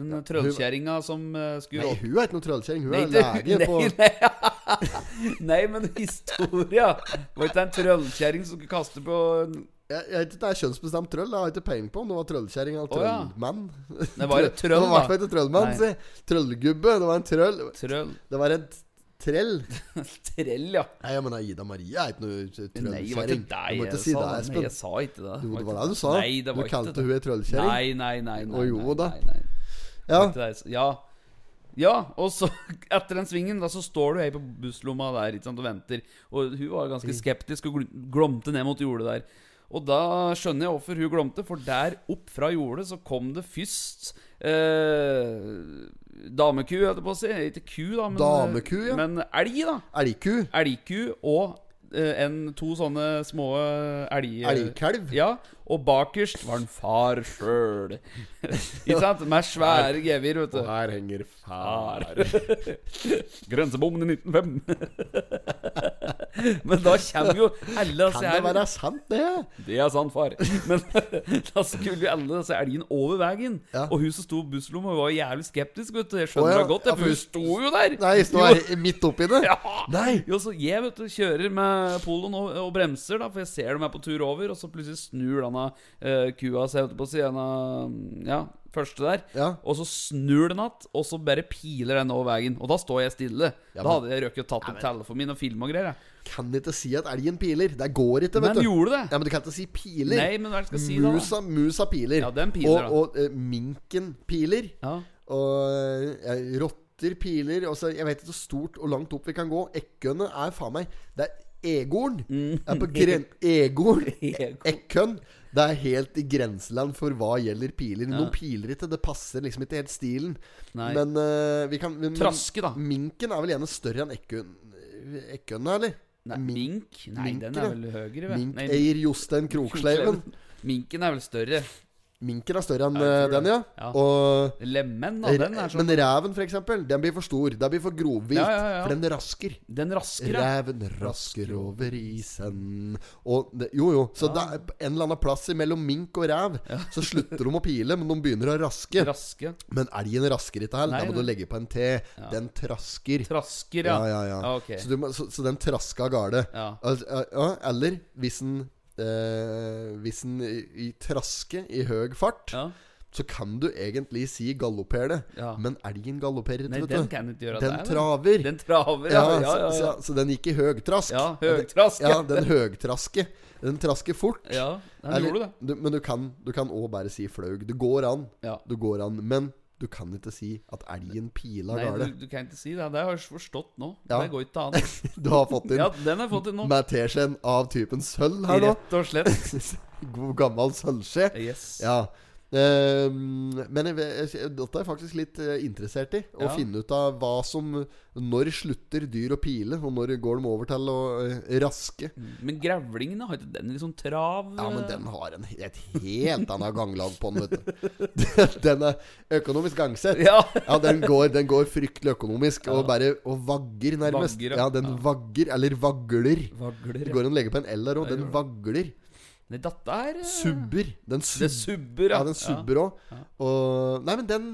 Speaker 2: Den trollkjerringa som eh, skulle
Speaker 1: Nei,
Speaker 2: opp
Speaker 1: hun er ikke noen trøllkjerring. Hun er
Speaker 2: Nei,
Speaker 1: lege
Speaker 2: nei,
Speaker 1: på
Speaker 2: nei, men historia! Var ikke det en trollkjerring som skulle kaste på
Speaker 1: Jeg, jeg vet ikke, Det er kjønnsbestemt trøll. Jeg har ikke peiling på om det var trøllkjerring eller
Speaker 2: Å, ja.
Speaker 1: trøllmann.
Speaker 2: Det var et
Speaker 1: det var
Speaker 2: trøll,
Speaker 1: i hvert
Speaker 2: da.
Speaker 1: fall ikke trøllmann,
Speaker 2: Nei.
Speaker 1: si. Trøllgubbe. Det var en trøll.
Speaker 2: Trøll.
Speaker 1: Det var et trell.
Speaker 2: Trell, ja.
Speaker 1: Nei, men Ida Marie er ikke noe
Speaker 2: Nei, det var
Speaker 1: trøllkjerring.
Speaker 2: ikke deg
Speaker 1: Du må
Speaker 2: jeg
Speaker 1: ikke si
Speaker 2: sa
Speaker 1: det,
Speaker 2: det. Nei,
Speaker 1: Espen.
Speaker 2: jeg sa ikke
Speaker 1: Jo,
Speaker 2: det.
Speaker 1: det var
Speaker 2: ikke
Speaker 1: det du sa.
Speaker 2: Nei, det
Speaker 1: Du
Speaker 2: var ikke
Speaker 1: kalte
Speaker 2: det.
Speaker 1: hun ei trøllkjerring.
Speaker 2: Nei, nei, nei. nei,
Speaker 1: Å,
Speaker 2: nei,
Speaker 1: jo da.
Speaker 2: nei, nei. Det
Speaker 1: Ja.
Speaker 2: var ikke det jeg sa. Ja. Ja, og så etter den svingen da så står du her på busslomma der ikke sant, og venter. Og hun var ganske
Speaker 1: Mm.
Speaker 2: skeptisk og gl- glomte ned mot jordet der. Og da skjønner jeg hvorfor hun glomte, for der opp fra jordet så kom det først eh, Dameku, holdt jeg på å si. Ikke ku, da, men,
Speaker 1: Dameku, ja.
Speaker 2: men elg, da.
Speaker 1: Elgku.
Speaker 2: Elgku og eh, en, to sånne små eh, elg...
Speaker 1: Elgkalv.
Speaker 2: Ja, og bakerst var en far sjøl. Ikke sant? Med svære gevir, vet du.
Speaker 1: Og her henger far.
Speaker 2: Grensebommen i 1905. Men da kommer jo alle
Speaker 1: Kan
Speaker 2: disse
Speaker 1: det
Speaker 2: her
Speaker 1: være sant, det?
Speaker 2: Det er sant, far. Men da skulle jo alle disse elgene over veien.
Speaker 1: Ja.
Speaker 2: Og hun som sto i busslomma, var jævlig skeptisk, vet du. Jeg skjønner
Speaker 1: Å, ja.
Speaker 2: det godt,
Speaker 1: Ja,
Speaker 2: jeg, for hun sto jo der.
Speaker 1: Nei, nå er jeg midt oppi det.
Speaker 2: Ja.
Speaker 1: Nei.
Speaker 2: Jo, så jeg vet du, kjører med poloen og, og bremser, da, for jeg ser dem er på tur over, og så plutselig snur denne eh, kua seg ute på siden av Ja, første der.
Speaker 1: Ja.
Speaker 2: Og så snur den att, og så bare piler den over veien. Og da står jeg stille.
Speaker 1: Ja,
Speaker 2: da
Speaker 1: men-
Speaker 2: hadde jeg røkket og tatt opp telefonen min og film og greier. jeg.
Speaker 1: Kan ikke si at elgen piler. Det går ikke,
Speaker 2: Men
Speaker 1: vet du.
Speaker 2: gjorde det.
Speaker 1: Ja, men du kan ikke si piler.
Speaker 2: Nei, men hva er det jeg skal si da? da?
Speaker 1: musa, musa piler.
Speaker 2: Ja, den piler, da.
Speaker 1: og og eh, minken piler.
Speaker 2: Ja.
Speaker 1: Og eh, rotter piler. Og så, jeg vet ikke så stort og langt opp vi kan gå. Ekornet er faen meg Det er egorn.
Speaker 2: Mm.
Speaker 1: Det Er på gren... Egorn.
Speaker 2: Ekorn.
Speaker 1: Ekorn. Det er helt i grenseland for hva gjelder piler. Noen piler ikke. Det passer liksom ikke helt stilen.
Speaker 2: Nei.
Speaker 1: Men eh, vi kan men,
Speaker 2: Traske, da.
Speaker 1: Minken er vel gjerne større enn ekorn ekornet, eller?
Speaker 2: Nei,
Speaker 1: Min-
Speaker 2: mink? Nei,
Speaker 1: Mink,
Speaker 2: den
Speaker 1: ja.
Speaker 2: er vel høyere, vel?
Speaker 1: Mink
Speaker 2: Nei,
Speaker 1: eier Jostein Kroksleiven.
Speaker 2: Minken er vel større.
Speaker 1: Minken er større enn
Speaker 2: Ja, jeg
Speaker 1: eh,
Speaker 2: tror
Speaker 1: den, ja.
Speaker 2: det. Ja.
Speaker 1: Og
Speaker 2: Lemen, da, den er sånn
Speaker 1: eh, Men reven, for eksempel, den blir for stor. Den blir for grovvilt.
Speaker 2: Ja, ja, ja.
Speaker 1: For den rasker.
Speaker 2: Den rasker, ja.
Speaker 1: Reven rasker over isen og det, Jo, jo. Så det er en eller annen plass mellom mink og rev så slutter de å pile, men de begynner å raske.
Speaker 2: Raske.
Speaker 1: Men elgen rasker ikke heller.
Speaker 2: Nei,
Speaker 1: Da må
Speaker 2: nei.
Speaker 1: du legge på en T. Den trasker.
Speaker 2: Trasker,
Speaker 1: ja,
Speaker 2: ja.
Speaker 1: ja, ja.
Speaker 2: ok.
Speaker 1: så, du, må- så, så den traska av gårde.
Speaker 2: Ja.
Speaker 1: Al- ja, ja, Eller hvis den eh, Hvis den i, i traske i høy fart,
Speaker 2: ja.
Speaker 1: så kan du egentlig si galopper det.
Speaker 2: Ja.
Speaker 1: Men elgen galopperer
Speaker 2: Nei,
Speaker 1: ikke,
Speaker 2: den
Speaker 1: vet du.
Speaker 2: kan du ikke gjøre.
Speaker 1: Den
Speaker 2: det er,
Speaker 1: traver.
Speaker 2: Den traver, ja.
Speaker 1: ja,
Speaker 2: ja, ja,
Speaker 1: Så,
Speaker 2: ja.
Speaker 1: så, så den gikk i høgtrask.
Speaker 2: Ja, høgtrask,
Speaker 1: Ja,
Speaker 2: ja.
Speaker 1: den høgtraske. Den trasker fort.
Speaker 2: ja. Den
Speaker 1: Eller-
Speaker 2: gjorde det.
Speaker 1: Du, men du kan òg kan også bare si flaug. Det går an.
Speaker 2: Ja.
Speaker 1: Du går an. Men du kan ikke si at elgen pila
Speaker 2: Nei,
Speaker 1: gale.
Speaker 2: du, du kan ikke si det. Det har jeg forstått nå.
Speaker 1: Ja.
Speaker 2: Det går ikke an.
Speaker 1: Du har fått inn
Speaker 2: Ja, den har jeg fått til nå.
Speaker 1: med teskjeen av typen sølv her nå.
Speaker 2: Rett og slett.
Speaker 1: God gammel sølvskje.
Speaker 2: Yes.
Speaker 1: Ja. Ehm, men jeg, vet- jeg, dette er jeg faktisk litt eh, interessert i. Å
Speaker 2: Ja.
Speaker 1: finne ut av hva som Når slutter dyr å pile, og når går de over til å eh, raske?
Speaker 2: Men grevlingene, har ikke den liksom trav
Speaker 1: Ja, men den har en, et helt annet ganglag på den, vet du. Den er økonomisk gangsett.
Speaker 2: Ja.
Speaker 1: Ja, den går, den går fryktelig økonomisk, og bare og vagger, nærmest.
Speaker 2: Vagger,
Speaker 1: ja.
Speaker 2: ja.
Speaker 1: den
Speaker 2: Ja.
Speaker 1: vagger, eller vagler.
Speaker 2: Vagler,
Speaker 1: Det
Speaker 2: ja.
Speaker 1: går an å legge på en L der òg. Den vagler.
Speaker 2: Nei, dette er eh,
Speaker 1: Subber. Den
Speaker 2: Det
Speaker 1: subber.
Speaker 2: subber,
Speaker 1: Ja, den subber òg. Og Nei, men den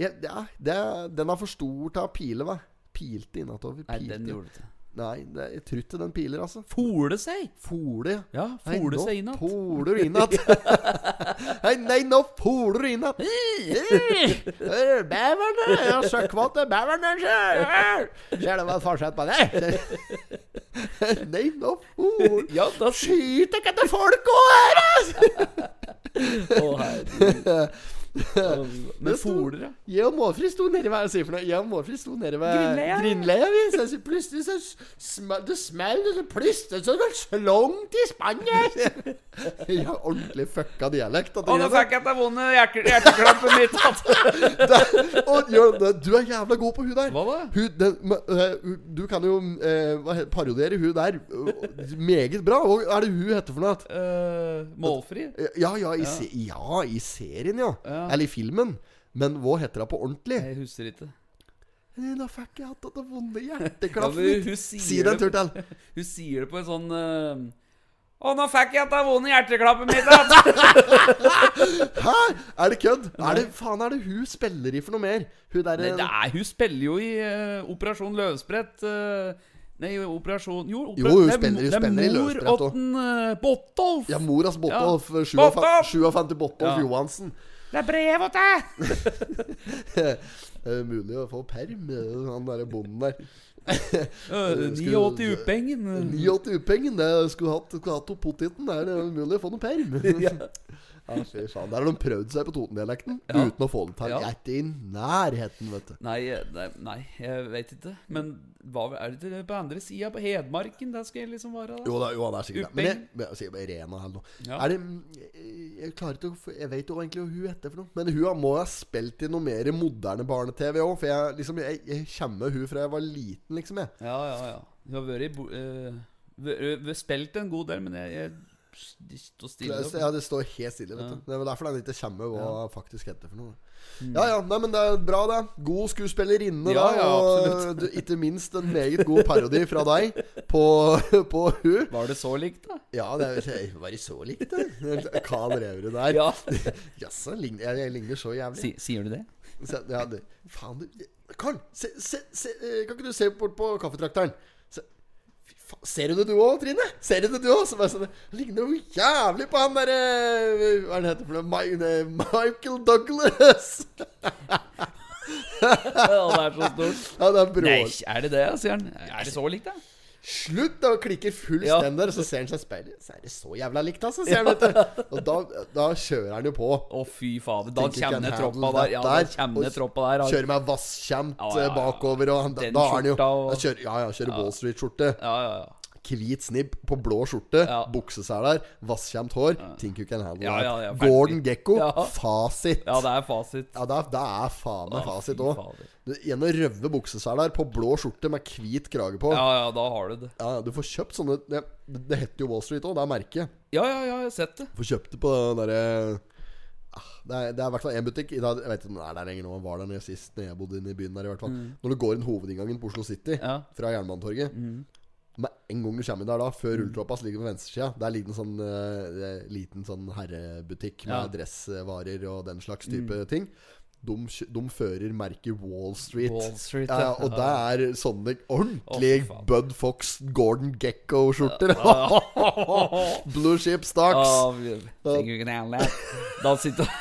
Speaker 1: ja, det er- det er- Den er for stor til å pile, hva? Pilte innatover.
Speaker 2: Nei,
Speaker 1: pilte.
Speaker 2: den gjorde det.
Speaker 1: Nei, det, jeg tror ikke den piler, altså.
Speaker 2: Fole seg.
Speaker 1: Fole.
Speaker 2: Ja,
Speaker 1: Nei,
Speaker 2: fole
Speaker 1: nå
Speaker 2: seg innatt.
Speaker 1: Poler du innatt. Nei, nei, nå poler du innatt. Øh, Bæverne! Jeg har søkkvåt til bæverne sjøl! Ser du hva forskjell på det? Nei, nå poler
Speaker 2: Ja, da
Speaker 1: Skyter ikke etter folk òg her, altså!
Speaker 2: Å, herregud. Men foler, ja.
Speaker 1: Jeg og Målfrid sto nede ved Hva er det jeg sier for noe? Jeg og Målfrid sto nede ved
Speaker 2: Grindleia.
Speaker 1: Grindleia. vi. Så så plutselig så smalt det smalt, og så plutselig så var det slangt i spannet! Jeg har ordentlig fucka dialekt. at
Speaker 2: Å, nå
Speaker 1: jeg-
Speaker 2: fikk jeg til vonde hjerte- hjerteklappen mitt.
Speaker 1: Der, og gjør det. Du er jævla god på hun der.
Speaker 2: Hva da?
Speaker 1: Hun, den, men, øh, hun- du kan jo øh, hva he- parodiere hun der øh, meget bra. Hva er det hun heter for noe? at-
Speaker 2: Eh, målfri?
Speaker 1: Ja, ja, i, Se, ja, i serien, ja.
Speaker 2: Ja.
Speaker 1: Eller i filmen. Men hva heter hun på ordentlig?
Speaker 2: Jeg husker ikke.
Speaker 1: Nei, Da fikk jeg hatt det vonde
Speaker 2: Ja,
Speaker 1: hjerteklaffen
Speaker 2: men hun
Speaker 1: mitt.
Speaker 2: sier
Speaker 1: Si det en tur
Speaker 2: det-
Speaker 1: til.
Speaker 2: Hun sier det på en sånn eh, Å, nå fikk jeg til vonde hjerteklappen mitt. da!»
Speaker 1: Hæ? Er det kødd? Er det, faen, er det hun spiller i for noe mer? Hun der
Speaker 2: Nei, det er, hun spiller jo i eh, Operasjon Løvsprett. eh, Nei, jo, operasjon Jo,
Speaker 1: Jo,
Speaker 2: opera-
Speaker 1: hun
Speaker 2: det er
Speaker 1: spiller-
Speaker 2: mo-
Speaker 1: hun
Speaker 2: det er
Speaker 1: spiller i
Speaker 2: mor
Speaker 1: løsbrett også.
Speaker 2: åtten eh, Botolf!
Speaker 1: Ja, moras Botolf.
Speaker 2: Ja.
Speaker 1: sju av fa-
Speaker 2: Botolf!
Speaker 1: sju av fem til Botolf
Speaker 2: Ja.
Speaker 1: Johansen.
Speaker 2: Det er brev åt deg!
Speaker 1: Det er mulig å få perm, eh, han derre bonden der.
Speaker 2: Øh,
Speaker 1: Skulle-
Speaker 2: 89 upengen.
Speaker 1: 89 upengen, det eh, skulle hatt, skulle hatt opp poteten. Det er det umulig å få noe perm. ja. fy faen. Der har de prøvd seg på Toten-dialekten
Speaker 2: Ja.
Speaker 1: uten å få det til.
Speaker 2: Ja.
Speaker 1: Jeg er ikke i nærheten, vet du.
Speaker 2: Nei, eh, nei, nei, jeg vet ikke. Men hva er det til- på andre sida, på Hedmarken? Der skal jeg liksom være, da.
Speaker 1: Jo da, jo, det er sikkert det. Men jeg,
Speaker 2: Upeng.
Speaker 1: men jeg sier bare Rena eller noe.
Speaker 2: Ja.
Speaker 1: Er det mm, Jeg klarer ikke å få- Jeg vet jo egentlig hva hun heter for noe. Men hun har- må ha spilt i noe mer moderne barne-TV òg. For jeg, liksom, jeg, jeg kjenner hun fra jeg var liten, liksom. jeg
Speaker 2: Ja, ja, ja. Du har vært i bo... eh, vi- vi har spilt en god del, men jeg, jeg står stille. opp.
Speaker 1: Ja, det står helt stille, vet du.
Speaker 2: Ja. Mm.
Speaker 1: Det er vel derfor den ikke kommer hva ja. faktisk heter for noe. Ja ja, nei, men det er bra, det. God skuespillerinne,
Speaker 2: Ja,
Speaker 1: da.
Speaker 2: ja,
Speaker 1: og du, ikke minst en meget god parodi fra deg på, på hun.
Speaker 2: Var det så likt, da?
Speaker 1: Ja, det er, jeg var det så likt, det? Kan Reverud der.
Speaker 2: Ja.
Speaker 1: Jaså, lign- jeg, jeg ligner så jævlig.
Speaker 2: Si, sier du det?
Speaker 1: Se, ja, det, faen, du Karl, se, se, se, eh, kan ikke du se bort på kaffetrakteren? Se, fy faen, ser du det du òg, Trine? Ser du det du òg? Så bare sånn Han ligner jo jævlig på han derre Hva er det han heter for noe? Mi- eh, Michael Douglas!
Speaker 2: Ja, det er så stort.
Speaker 1: Ja, det er bror.
Speaker 2: Nei, er det det, sier han. Er det så likt, da?
Speaker 1: Slutt! da, og klikker fullstendig, og så ser han seg i speilet. Så er det så jævla likt, altså, sier han, vet du. Og da, da kjører han jo på.
Speaker 2: Å, fy fader. Da
Speaker 1: Tenker ikke
Speaker 2: kjenner
Speaker 1: han
Speaker 2: troppa
Speaker 1: handler
Speaker 2: der. Ja, da
Speaker 1: dette her,
Speaker 2: kjenner
Speaker 1: og
Speaker 2: troppa der. Han-
Speaker 1: Kjører med vasskjemt
Speaker 2: Ja, ja,
Speaker 1: eh,
Speaker 2: ja, ja.
Speaker 1: bakover, og han, da,
Speaker 2: Den
Speaker 1: da er han jo
Speaker 2: skjorta og-
Speaker 1: da kjører, Ja, ja, kjører Wall Street-skjorte.
Speaker 2: Ja, ja, ja.
Speaker 1: Hvit snibb på blå skjorte,
Speaker 2: Ja.
Speaker 1: bukseseler, vasskjemt hår. Think you can handle
Speaker 2: Ja, ja, ja,
Speaker 1: that.
Speaker 2: ferdig.
Speaker 1: Gordon Gekko,
Speaker 2: Ja.
Speaker 1: fasit.
Speaker 2: Ja, det er fasit.
Speaker 1: Ja, det er, det er faen meg
Speaker 2: Ja,
Speaker 1: fasit
Speaker 2: fy
Speaker 1: òg.
Speaker 2: fader.
Speaker 1: En og røve bukseseler på blå skjorte med hvit krage på. Ja.
Speaker 2: Ja, ja, da har du det.
Speaker 1: du får kjøpt sånne Det, det heter jo Wall Street òg, det er merket.
Speaker 2: Ja, ja, ja, jeg har sett det.
Speaker 1: Du får kjøpt det på den derre Ah, det er, det er i hvert fall én butikk. I dag, jeg vet ikke om den er der lenger nå. Den var der når jeg sist når jeg bodde inne i byen der. i hvert fall
Speaker 2: Mm.
Speaker 1: Når du går inn hovedinngangen på Oslo City
Speaker 2: Ja.
Speaker 1: fra Jernbanetorget
Speaker 2: Mm.
Speaker 1: Med en gang du kommer inn der da, før rulletrappa, så ligger du på venstresida. Der ligger en sånn eh, liten sånn herrebutikk med
Speaker 2: Ja. Mm.
Speaker 1: dressvarer og den slags type ting. De, kjø- de fører merket Wall Street.
Speaker 2: Wall Street,
Speaker 1: ja, ja,
Speaker 2: ja.
Speaker 1: Og det er sånne
Speaker 2: Å,
Speaker 1: ordentlige
Speaker 2: fy faen.
Speaker 1: Bud Fox, Gordon Gekko-skjorter. Blue Ship Stocks.
Speaker 2: Ah, vi- tenker du ikke det, Erle? Da han sitter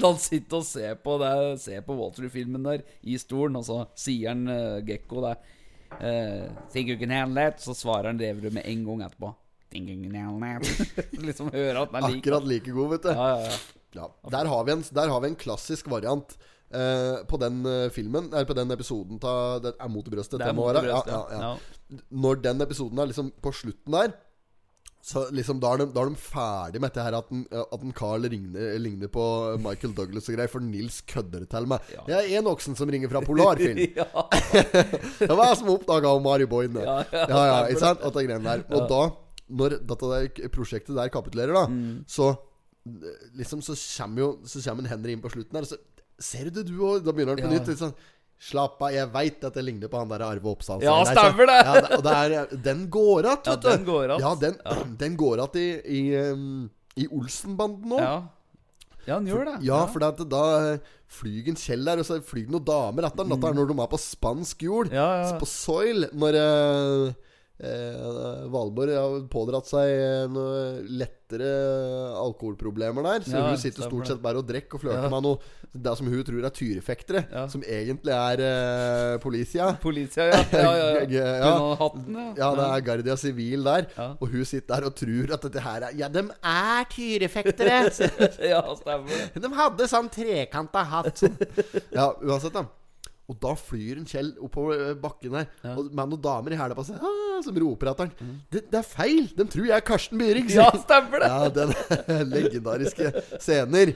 Speaker 2: da han sitter og ser på, det, ser på Walter-filmen der i stolen, og så sier han eh, Gekko det. eh, tenker du ikke det, Erle? Så svarer han Reverud med en gang etterpå. Tenker du ikke det, Erle? liksom hører at den er lik.
Speaker 1: Akkurat like god, vet du.
Speaker 2: Ja, ja, ja.
Speaker 1: Ja. Der, har vi en, der har vi en klassisk variant eh, på den eh, filmen Eller på den episoden ta, Det er mot i brøstet.
Speaker 2: Det er
Speaker 1: det må
Speaker 2: mot i
Speaker 1: være.
Speaker 2: brøstet,
Speaker 1: ja,
Speaker 2: ja.
Speaker 1: ja, ja. Når den episoden er liksom på slutten der så liksom Da er de, da er de ferdig med dette her at en, at en Carl ligner, ligner på Michael Douglas og greier, for Nils kødder det til meg. Det er én oksen som ringer fra Polarfilm.
Speaker 2: Ja,
Speaker 1: Det var jeg som oppdaga Mari Boine. Ja, ja, ja, ikke sant? At det greiene der. Og da, når dette der prosjektet der kapitulerer, da,
Speaker 2: Mm.
Speaker 1: så eh, liksom så kommer jo Så kommer en Henry inn på slutten der, og så Ser du det, du òg? Da begynner han på
Speaker 2: Ja.
Speaker 1: nytt. Litt sånn Slapp av, jeg veit at jeg ligner på han der Arve Oppsal.
Speaker 2: Ja,
Speaker 1: Nei, så-
Speaker 2: stemmer det.
Speaker 1: Ja, det, og det er, eh, den går att,
Speaker 2: Ja,
Speaker 1: vet du.
Speaker 2: den går att.
Speaker 1: Ja, den, den går att i, i, um, i Olsenbanden òg.
Speaker 2: ja. ja, han gjør det.
Speaker 1: Ja, for det at da flyr en Kjell der, og så flyr det noen damer etter han. Dette
Speaker 2: Mm.
Speaker 1: er når de er på spansk jord.
Speaker 2: Ja, ja.
Speaker 1: På soil. Når eh, eh, Valborg har pådratt seg eh, noe lettere alkoholproblemer der. Så
Speaker 2: Ja,
Speaker 1: hun sitter
Speaker 2: stemmer
Speaker 1: stort
Speaker 2: det.
Speaker 1: sett bare og drikker og flørter med noe Det som hun tror er tyrefektere,
Speaker 2: Ja.
Speaker 1: som egentlig er eh, politia.
Speaker 2: Politia, ja. ja, ja, ja.
Speaker 1: Ja.
Speaker 2: Hun hadde hatten,
Speaker 1: Ja, det er Guardia Civil der.
Speaker 2: Ja.
Speaker 1: Og hun sitter der og tror at dette her er Ja, dem er tyrefektere! Så-
Speaker 2: ja, stemmer det.
Speaker 1: de hadde sånn trekanta hatt. Sånn. Ja, uansett, da. Og da flyr en Kjell oppover eh, bakken her Og med noen damer i hæla på seg ah, som roper etter han. Det, det er feil! Dem tror jeg er Karsten Byring! sier
Speaker 2: Ja,
Speaker 1: han.
Speaker 2: stemmer det!
Speaker 1: ja, den legendariske scener.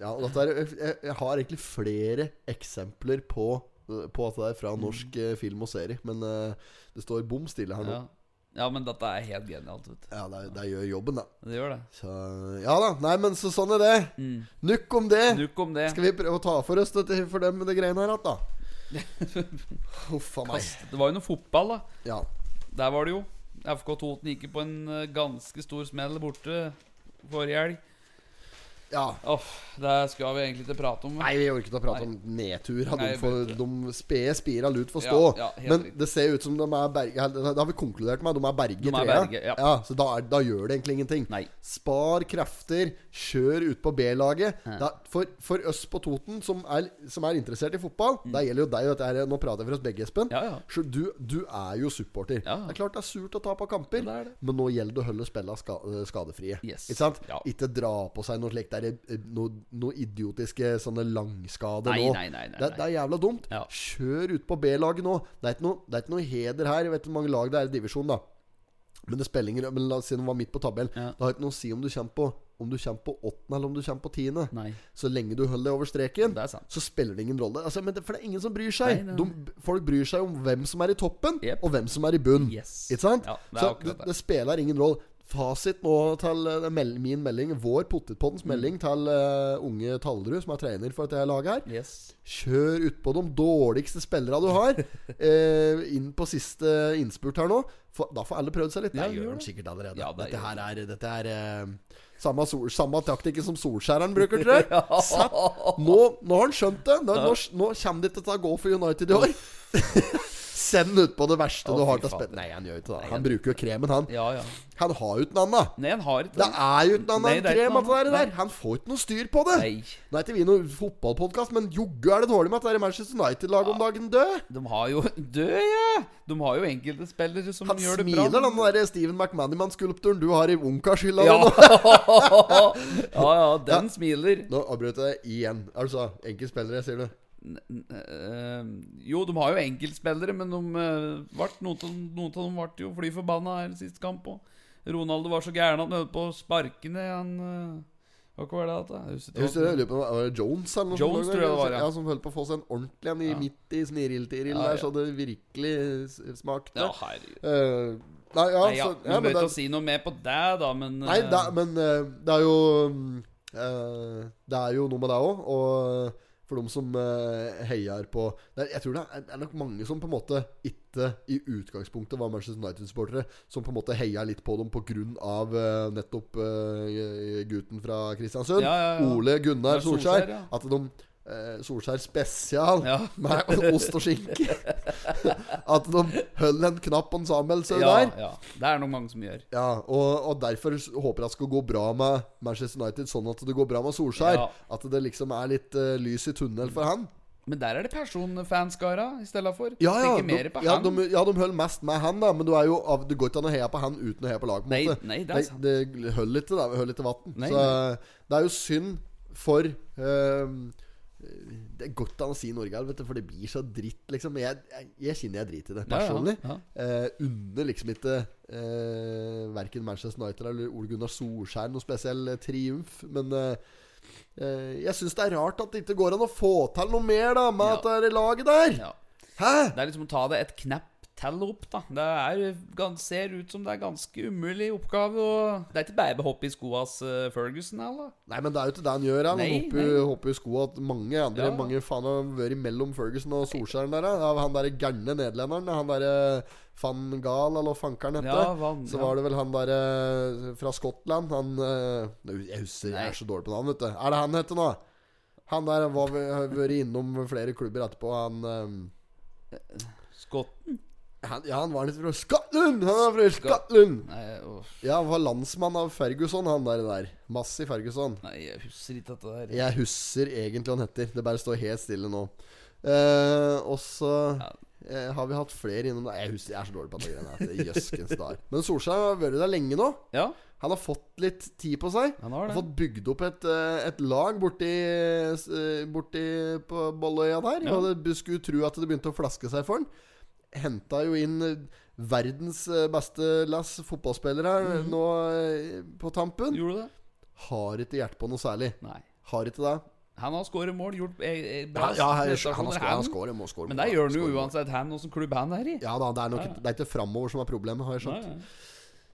Speaker 1: Ja, og dette er, jeg, jeg har egentlig flere eksempler på, på at det er fra norsk eh, film og serie, men eh, det står bom stille her nå.
Speaker 2: Ja. ja, men dette er helt genialt, vet du.
Speaker 1: Ja, det, det gjør jobben, da.
Speaker 2: Det gjør det.
Speaker 1: Så, ja da. Nei, men så sånn er det.
Speaker 2: Mm.
Speaker 1: Nukk om det.
Speaker 2: Nok om det.
Speaker 1: Skal vi prøve å ta for oss dette for dem det greiene her att, da? Huff a meg.
Speaker 2: Det var jo noe fotball, da.
Speaker 1: Ja.
Speaker 2: Der var det jo. FK Toten gikk jo på en eh, ganske stor smell borte forrige helg.
Speaker 1: Ja.
Speaker 2: Åh, det skal vi egentlig ikke prate om.
Speaker 1: Nei, vi orker ikke å prate om nedtur. Ja,
Speaker 2: Nei,
Speaker 1: de,
Speaker 2: jeg
Speaker 1: får,
Speaker 2: vet
Speaker 1: de spede spira lut får
Speaker 2: Ja,
Speaker 1: stå.
Speaker 2: ja, helt
Speaker 1: Men
Speaker 2: riktig.
Speaker 1: det ser ut som de er berge Det har vi konkludert med. De er berge
Speaker 2: De
Speaker 1: i
Speaker 2: er
Speaker 1: trea.
Speaker 2: berge, ja.
Speaker 1: så da, er, da gjør det egentlig ingenting.
Speaker 2: Nei.
Speaker 1: Spar krefter. Kjør ut på B-laget. Det er- For, for oss på Toten som er, som er interessert i fotball, det gjelder jo deg. og dette er- nå prater jeg for oss begge, Espen.
Speaker 2: Mm. Ja, ja.
Speaker 1: Så du, du er jo supporter.
Speaker 2: Ja.
Speaker 1: Det er klart det er surt å tape kamper,
Speaker 2: Ja, det er det.
Speaker 1: men nå gjelder det å holde spillene ska eh, skadefrie.
Speaker 2: Yes.
Speaker 1: Ikke sant?
Speaker 2: Ja.
Speaker 1: Ikke dra på seg noe slikt der, eh, noe, noe idiotiske sånne langskader
Speaker 2: Nei,
Speaker 1: nå.
Speaker 2: nei, nei, nei,
Speaker 1: det, det er jævla dumt.
Speaker 2: Ja.
Speaker 1: Kjør ut på B-laget nå. Det er ikke noe, det er ikke noe heder her. Jeg vet ikke hvor mange lag det er i divisjonen, da. Men det spiller ingen Men la oss si de var midt på tabellen.
Speaker 2: Ja.
Speaker 1: Det har ikke noe å si om du kommer på Om du kommer på åttende eller om du kommer på tiende.
Speaker 2: Nei.
Speaker 1: Så lenge du holder deg over streken,
Speaker 2: Det er sant.
Speaker 1: så spiller det ingen rolle. Altså, men det, for det er ingen som bryr seg.
Speaker 2: Nei, nei,
Speaker 1: De, folk bryr seg om hvem som er i toppen,
Speaker 2: Jep.
Speaker 1: og hvem som er i bunn.
Speaker 2: Yes.
Speaker 1: Ikke sant?
Speaker 2: Ja, det er
Speaker 1: så
Speaker 2: akkurat
Speaker 1: det,
Speaker 2: det.
Speaker 1: det spiller ingen rolle. Fasit nå til eh, det er mel- min melding, vår Potetpoddens melding til eh, unge Tallerud, som er trener for dette laget her.
Speaker 2: Yes.
Speaker 1: Kjør utpå de dårligste spillerne du har, eh, inn på siste innspurt her nå. For, da får alle prøvd seg litt.
Speaker 2: Ja,
Speaker 1: det
Speaker 2: gjør
Speaker 1: gjør de
Speaker 2: det.
Speaker 1: sikkert allerede.
Speaker 2: Ja, det
Speaker 1: dette
Speaker 2: gjør
Speaker 1: her er, dette er eh, samme, sol, samme taktikken som Solskjæreren bruker, tror jeg. Sett, nå, nå har han skjønt det. Nå, nå, nå kommer det ikke til å gå for United i år. Send ut på det verste
Speaker 2: Å,
Speaker 1: du har
Speaker 2: fy
Speaker 1: til å
Speaker 2: faen.
Speaker 1: spille Nei, han gjør ikke det. Han bruker jo kremen, han.
Speaker 2: Ja, ja.
Speaker 1: Han har jo ikke noe annet.
Speaker 2: Nei, han har ikke
Speaker 1: Det er jo ikke noe annet
Speaker 2: Nei, det
Speaker 1: enn
Speaker 2: er ikke
Speaker 1: krem.
Speaker 2: noe
Speaker 1: at det er det
Speaker 2: annet.
Speaker 1: der. Han får ikke noe styr på det.
Speaker 2: Nei.
Speaker 1: Nå er ikke vi noen fotballpodkast, men joggu er det dårlig med at det er Manchester United-laget om dagen død.
Speaker 2: De har jo Død, ja! De har jo enkelte spillere som
Speaker 1: Han
Speaker 2: gjør det
Speaker 1: smiler,
Speaker 2: bra.
Speaker 1: den der Steven McManaman-skulpturen du har i ungkarshylla.
Speaker 2: Ja.
Speaker 1: nå.
Speaker 2: ja, ja, den smiler.
Speaker 1: Nå avbrøt jeg deg igjen. Altså, enkeltspillere, sier du.
Speaker 2: Eh, jo, de har jo enkeltspillere, men de, eh, vart, noen, av- noen av dem ble jo fly forbanna her sist kamp. Og Ronaldo var så gæren at han holdt på å sparke ned han eh, Hva var det at det? Husker ikke
Speaker 1: Jeg husker
Speaker 2: hva
Speaker 1: jeg
Speaker 2: det-
Speaker 1: lurer på om det var Jones eller noe
Speaker 2: Jones,
Speaker 1: sånt.
Speaker 2: tror jeg det var,
Speaker 1: ja.
Speaker 2: ja.
Speaker 1: Som holdt på å få seg en ordentlig en i
Speaker 2: Ja.
Speaker 1: midt i sniril-tiril
Speaker 2: Ja,
Speaker 1: der,
Speaker 2: ja.
Speaker 1: så det virkelig s- smakte.
Speaker 2: Ja, herregud.
Speaker 1: Eh, nei, ja,
Speaker 2: Nei, ja,
Speaker 1: så, ja,
Speaker 2: du behøver
Speaker 1: men
Speaker 2: ikke
Speaker 1: det,
Speaker 2: å si noe mer på det, da, men
Speaker 1: nei
Speaker 2: eh,
Speaker 1: da, men eh, det er jo mm, eh, Det er jo noe med det òg, og for dem som eh, heier på det er, Jeg tror det er, det er nok mange som på en måte ikke i utgangspunktet var Manchester United-supportere, som på en måte heier litt på dem pga. Uh, nettopp eh, gutten fra Kristiansund.
Speaker 2: Ja, ja, ja.
Speaker 1: Ole Gunnar
Speaker 2: Ja, Solskjær,
Speaker 1: Solskjær.
Speaker 2: ja.
Speaker 1: At de eh, Solskjær spesial
Speaker 2: Ja.
Speaker 1: med ost og skinke. At de holder en knapp på en Samuelsen
Speaker 2: ja,
Speaker 1: der.
Speaker 2: ja, det er nok mange som gjør.
Speaker 1: Ja, og, og derfor s- håper jeg det skal gå bra med Manchester United, sånn at det går bra med Solskjær.
Speaker 2: Ja.
Speaker 1: At det liksom er litt eh, lys i tunnel for han.
Speaker 2: Men der er det personfanskara i stedet for.
Speaker 1: Ja, ja,
Speaker 2: Tenker mer
Speaker 1: de,
Speaker 2: på
Speaker 1: ja,
Speaker 2: han.
Speaker 1: de, ja, de holder mest med han, da, men du, er jo, av- det går ikke an å heie på han uten å heie på lag. på en
Speaker 2: Nei,
Speaker 1: måte.
Speaker 2: nei, det er sant.
Speaker 1: det det holder ikke, da. det Holder ikke vann.
Speaker 2: Nei,
Speaker 1: Så eh, det er jo synd for ehm, Det er godt an å si Norge, her, vet du, for det blir så dritt, liksom. Jeg, jeg, jeg kjenner jeg driter i det,
Speaker 2: Ja, ja,
Speaker 1: personlig.
Speaker 2: ja.
Speaker 1: Eh, unner liksom ikke eh, verken Manchester United eller Ole Gunnar Solskjær noe spesiell eh, triumf, men eh, eh, jeg syns det er rart at det ikke går an å få til noe mer da med
Speaker 2: Ja.
Speaker 1: at det er laget der.
Speaker 2: Ja.
Speaker 1: Hæ?
Speaker 2: Det er liksom å ta det et knepp til opp, da. Det er, gans- ser ut som det er ganske umulig oppgave. Og det er ikke bare å hoppe i skoas eh, Ferguson her, da.
Speaker 1: Nei, men det er jo ikke det han gjør. Han
Speaker 2: Nei,
Speaker 1: hopper,
Speaker 2: nei.
Speaker 1: hopper i skoa at mange andre
Speaker 2: Ja.
Speaker 1: Mange faen har vært mellom Ferguson og Solskjæren der. ja. Av Han derre gærne nederlenderen. Han derre van Gaal, eller hva fankeren hette.
Speaker 2: Ja, Van-
Speaker 1: så
Speaker 2: ja.
Speaker 1: var det vel han derre fra Skottland. Han eh, Jeg husker, jeg
Speaker 2: Nei.
Speaker 1: er så dårlig på navn, vet du. Er det han heter nå? Han der var, har vært innom flere klubber etterpå. Han eh,
Speaker 2: Skotten
Speaker 1: han, ja, han var litt fra Skottland! Han er fra Skottland!
Speaker 2: Nei, åh,
Speaker 1: Ja, han var landsmann av Ferguson, han der. der. Massey Ferguson.
Speaker 2: nei, jeg husker ikke dette der.
Speaker 1: Jeg husker egentlig han heter. Det bare står helt stille nå. Eh, og så eh, har vi hatt flere innom Nei, Jeg husker, jeg er så dårlig på denne greia. at det er Jøskens dar. Men Solskjær har vært der lenge nå.
Speaker 2: Ja,
Speaker 1: Han har fått litt tid på seg.
Speaker 2: Han har det.
Speaker 1: fått bygd opp et, eh, et lag borti, eh, borti på Bolløya der.
Speaker 2: Ja.
Speaker 1: Og det skulle tro at det begynte å flaske seg for han. Henta jo inn eh, verdens eh, beste lass fotballspillere her
Speaker 2: Mhm.
Speaker 1: nå eh, på tampen.
Speaker 2: gjorde du det?
Speaker 1: Har ikke hjerte på noe særlig.
Speaker 2: Nei.
Speaker 1: Har ikke det.
Speaker 2: Han har skåret mål, gjort eh, eh,
Speaker 1: Ja,
Speaker 2: bra
Speaker 1: ja han,
Speaker 2: prestasjoner,
Speaker 1: han, har skåret, han skårer, må skåre.
Speaker 2: Men det gjør han jo uansett, han, åssen klubb han er i.
Speaker 1: Ja da, det er, nok, det er ikke framover som er problemet, har jeg
Speaker 2: Nei,
Speaker 1: skjønt.
Speaker 2: nei.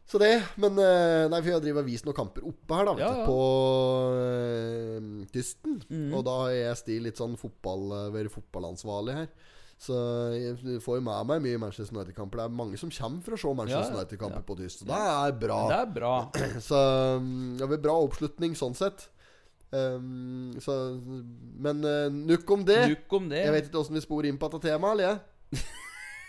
Speaker 1: Så det, men eh, Nei, for jeg driver og viser noen kamper oppe her, da, vet
Speaker 2: Ja, Mm.
Speaker 1: du,
Speaker 2: ja.
Speaker 1: på eh, Dysten. Og da er jeg sti litt sånn fotball, vært fotballansvarlig her. Så jeg får jo med meg mye Manchester United-kamper. Det er mange som kommer for å se Manchester
Speaker 2: Ja, ja.
Speaker 1: United-kamper
Speaker 2: Ja.
Speaker 1: på Dysten. Det er bra. eh,
Speaker 2: Det er bra.
Speaker 1: Så mm, det blir bra oppslutning sånn sett. Ehm, så, men eh, nukk om det.
Speaker 2: Nok om det.
Speaker 1: Jeg vet ikke åssen vi sporer inn på dette temaet. eller jeg?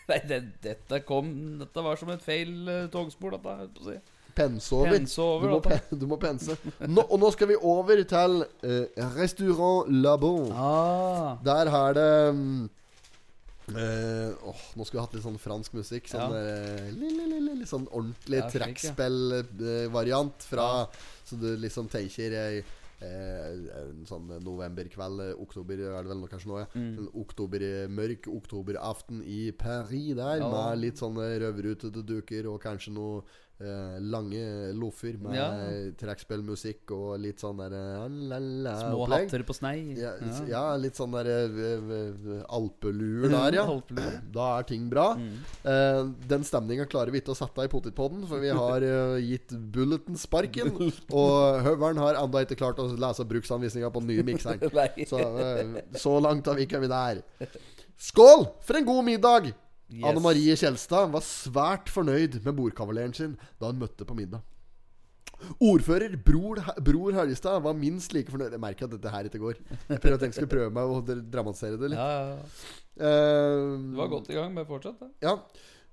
Speaker 2: Nei, det, dette kom Dette var som et feil eh, togspor, dette. holdt på å si.
Speaker 1: Pense over.
Speaker 2: Pense over,
Speaker 1: du, må
Speaker 2: dette.
Speaker 1: pen, du må pense. Nå, og nå skal vi over til eh, Restaurant La Bon.
Speaker 2: Ah.
Speaker 1: Der er det mm, eh, åh, Nå skulle vi hatt litt sånn fransk musikk. Sånn,
Speaker 2: Ja.
Speaker 1: eh, li, li, li, li, litt sånn ordentlig
Speaker 2: Ja, slik, ja.
Speaker 1: trekkspillvariant fra Så du liksom tenker ei Eh, en sånn novemberkveld, eh, oktober er det vel nå kanskje nå, ja.
Speaker 2: Mm.
Speaker 1: En Oktobermørk oktoberaften i Paris der,
Speaker 2: Ja.
Speaker 1: med litt sånne røverutete duker og kanskje noe eh, lange loffer med
Speaker 2: Ja.
Speaker 1: trekkspillmusikk og litt sånn der eh, la-la-la
Speaker 2: Små
Speaker 1: opplegg.
Speaker 2: hatter på snei.
Speaker 1: Ja, s- ja, litt sånn der eh, v- v- alpeluer
Speaker 2: Ja,
Speaker 1: der, ja.
Speaker 2: alpeluer.
Speaker 1: Da er ting bra. Eh, den stemninga klarer vi ikke å sette i potetpodden, for vi har eh, gitt Bulleten sparken. og Høveren har ennå ikke klart å lese bruksanvisninga på den nye mikseren.
Speaker 2: Nei.
Speaker 1: Så, eh, så langt har vi ikke kommet der. Skål for en god middag!
Speaker 2: Yes.
Speaker 1: Anne Marie Kjelstad var svært fornøyd med bordkavaleren sin da hun møtte på middag. Ordfører Bror, Bror Helgestad var minst like fornøyd Jeg merker at dette her ikke går. Jeg prøver at jeg skulle prøve meg å dra- dramatisere det litt.
Speaker 2: Ja, ja, ja.
Speaker 1: Eh,
Speaker 2: Du var godt i gang, bare fortsett. da.
Speaker 1: Ja.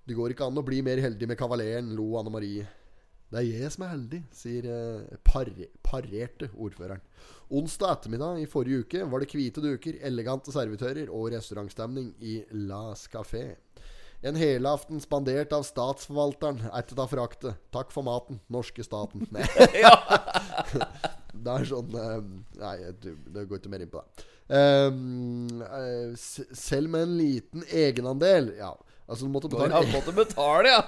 Speaker 1: Det går ikke an å bli mer heldig med kavaleren, lo Anne Marie. Det er jeg som er heldig, sier eh, par parerte ordføreren. Onsdag ettermiddag i forrige uke var det hvite duker, elegante servitører og restaurantstemning i Las Café. En helaften spandert av statsforvalteren er til å ta frakte. Takk for maten, norske staten. Nei. Det er sånn eh, Nei, jeg- du- det går ikke mer inn på det. Ehm, eh, s- selv med en liten egenandel Ja, altså du måtte
Speaker 2: Går an
Speaker 1: betale
Speaker 2: måtte betale, ja.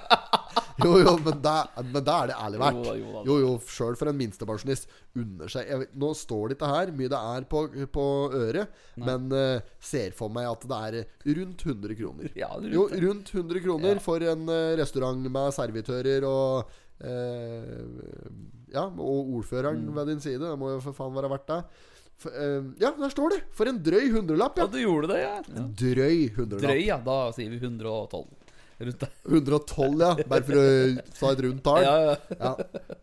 Speaker 1: Jo, jo, men da men da er det ærlig
Speaker 2: Jo da, jo da.
Speaker 1: verdt. Jo, jo, sjøl for en minstepensjonist. Under seg jeg, vet- Nå står det ikke her mye det er på, på øret, men eh, ser for meg at det er rundt 100 kroner.
Speaker 2: Ja, det er
Speaker 1: jo,
Speaker 2: rundt det.
Speaker 1: rundt 100 kroner
Speaker 2: Ja.
Speaker 1: for en eh, restaurant med servitører og eh, Ja, og ordføreren
Speaker 2: Mm.
Speaker 1: ved din side. Det må jo for faen være verdt det. For, eh, ja, der står det! For en drøy hundrelapp,
Speaker 2: Ja,
Speaker 1: ja.
Speaker 2: du gjorde det, ja. ja.
Speaker 1: Drøy hundrelapp.
Speaker 2: Drøy, ja. Da sier vi 112. Rundt der.
Speaker 1: 112, ja. Bare for å ta et rundt tall.
Speaker 2: Ja, ja.
Speaker 1: ja.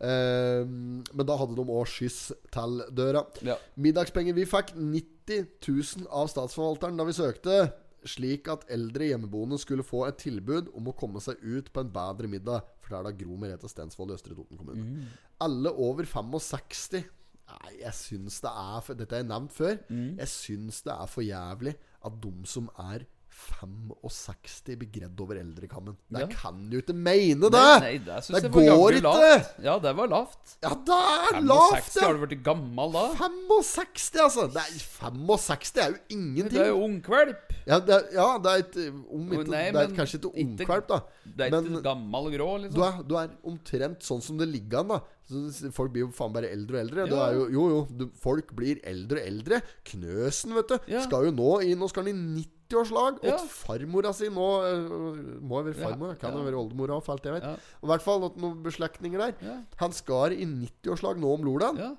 Speaker 1: Eh, men da hadde de òg skyss til døra.
Speaker 2: Ja.
Speaker 1: Middagspenger vi fikk 90 000 av statsforvalteren da vi søkte, slik at eldre hjemmeboende skulle få et tilbud om å komme seg ut på en bedre middag, for det er da Gro Merete Stensvold i Østre Toten kommune.
Speaker 2: Mm.
Speaker 1: Alle over 65 Nei, jeg syns det er for, Dette har jeg nevnt før.
Speaker 2: Mm.
Speaker 1: Jeg syns det er for jævlig at de som er 65 blir gredd over eldrekammen. Det
Speaker 2: Ja.
Speaker 1: kan du ikke mene, det!
Speaker 2: Nei, nei, det syns
Speaker 1: Det
Speaker 2: jeg var
Speaker 1: går
Speaker 2: jaggu
Speaker 1: ikke!
Speaker 2: lavt. Ja, det var lavt.
Speaker 1: Ja, det er
Speaker 2: 65,
Speaker 1: lavt!
Speaker 2: Har
Speaker 1: ja.
Speaker 2: du blitt gammel da?
Speaker 1: 65, altså! Det er 65 er jo ingenting!
Speaker 2: Du er jo ungkvalp.
Speaker 1: Ja, det er, ja, det er et eh, om
Speaker 2: Jo,
Speaker 1: ikke,
Speaker 2: nei,
Speaker 1: Det er
Speaker 2: men
Speaker 1: kanskje ikke
Speaker 2: ikke-
Speaker 1: ungkvalp, da.
Speaker 2: Du er
Speaker 1: Men-
Speaker 2: ikke gammel og grå,
Speaker 1: Du
Speaker 2: liksom.
Speaker 1: er, du er omtrent sånn som det ligger an, da. Så folk blir jo faen bare eldre og eldre. Du
Speaker 2: Ja.
Speaker 1: er jo, jo, jo du, folk blir eldre og eldre. Knøsen, vet du,
Speaker 2: Ja.
Speaker 1: skal jo nå i Nå skal han i 90-årslag.
Speaker 2: Ja.
Speaker 1: Åt farmora si nå eh, Må jo være farmor,
Speaker 2: Ja,
Speaker 1: kan jo
Speaker 2: ja.
Speaker 1: være oldemora og fælt, jeg vet.
Speaker 2: Ja.
Speaker 1: Og I hvert fall åt noen beslektinger der.
Speaker 2: Ja.
Speaker 1: Han skar i 90-årslag nå om lordagen.
Speaker 2: Ja.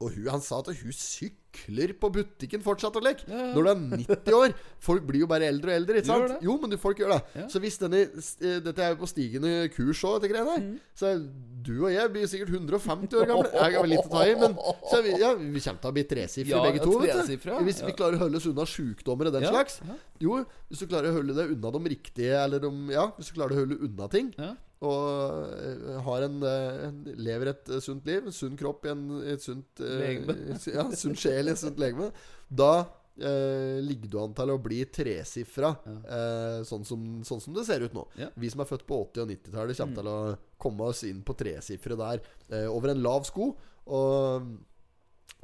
Speaker 1: Og hun, han sa at hun sykler på butikken fortsatt og lek.
Speaker 2: Ja,
Speaker 1: Når
Speaker 2: ja.
Speaker 1: du er 90 år. Folk blir jo bare eldre og eldre. ikke
Speaker 2: Gjør
Speaker 1: sant?
Speaker 2: det.
Speaker 1: Jo, men du, folk gjør det.
Speaker 2: Ja.
Speaker 1: Så hvis denne eh, Dette er jo på stigende kurs òg, dette greiene
Speaker 2: Mm.
Speaker 1: her. Så du og jeg blir sikkert 150 år gamle. Jeg har vel litt å ta i, men så er vi, ja, vi kommer til å bli tresifre
Speaker 2: Ja,
Speaker 1: begge to. Vet du.
Speaker 2: tresifre, ja.
Speaker 1: Hvis vi
Speaker 2: Ja.
Speaker 1: klarer å holde oss unna sjukdommer og den
Speaker 2: Ja,
Speaker 1: slags.
Speaker 2: ja.
Speaker 1: Jo, hvis du klarer å holde deg unna de riktige, eller de Ja, hvis du klarer å holde unna ting
Speaker 2: Ja.
Speaker 1: og eh, har en, eh, en lever et eh, sunt liv, en sunn kropp i en, et sunt eh,
Speaker 2: Legeme.
Speaker 1: ja, en sunn sjel i et sunt legeme, da eh, ligger du an til å bli tresifra, eh, sånn, som, sånn som det ser ut nå.
Speaker 2: Ja.
Speaker 1: Vi som er født på 80- og 90-tallet, kommer til å komme oss inn på tresifre der, eh, over en lav sko. Og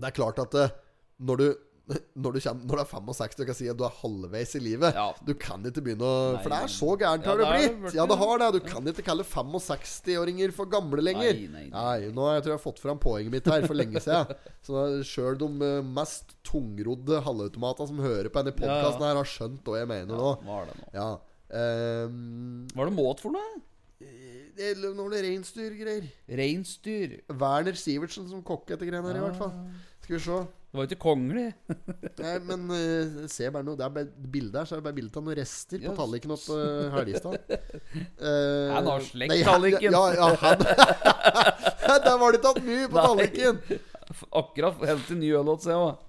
Speaker 1: det er klart at eh, når du når du, kommer, når du er 65 og kan si at du er halvveis i livet
Speaker 2: Ja.
Speaker 1: Du kan ikke begynne å
Speaker 2: Nei,
Speaker 1: For det
Speaker 2: nei.
Speaker 1: er så gærent
Speaker 2: Ja,
Speaker 1: har det
Speaker 2: det er det
Speaker 1: blitt.
Speaker 2: blitt,
Speaker 1: Ja, det
Speaker 2: ja.
Speaker 1: har det. Du kan ikke kalle 65-åringer for gamle lenger.
Speaker 2: Nei, nei,
Speaker 1: Nå har jeg, tror jeg har fått fram poenget mitt her for lenge siden. Så sjøl de eh, mest tungrodde halvautomatene som hører på denne podkasten, her har skjønt hva jeg mener nå.
Speaker 2: Hva er det nå?
Speaker 1: Ja. Ehm,
Speaker 2: Hva er det målt for noe?
Speaker 1: det er noen reinsdyrgreier.
Speaker 2: Reinsdyr.
Speaker 1: Werner Sivertsen som kokk etter greiene her, i hvert fall. Skal vi se.
Speaker 2: Ah. Det var jo ikke kongelig.
Speaker 1: Nei, men eh, se bare noe Det er bare bildet her, så er det bare bilde av noen rester på
Speaker 2: Yes.
Speaker 1: tallerkenen oppe uh, Helgestad. Eh,
Speaker 2: Han har slekt
Speaker 1: nei,
Speaker 2: tallerken.
Speaker 1: Ja, ja, han Der var det tatt mye på
Speaker 2: Nei.
Speaker 1: tallerkenen!
Speaker 2: f- akkurat helt til ny øl åt seg også.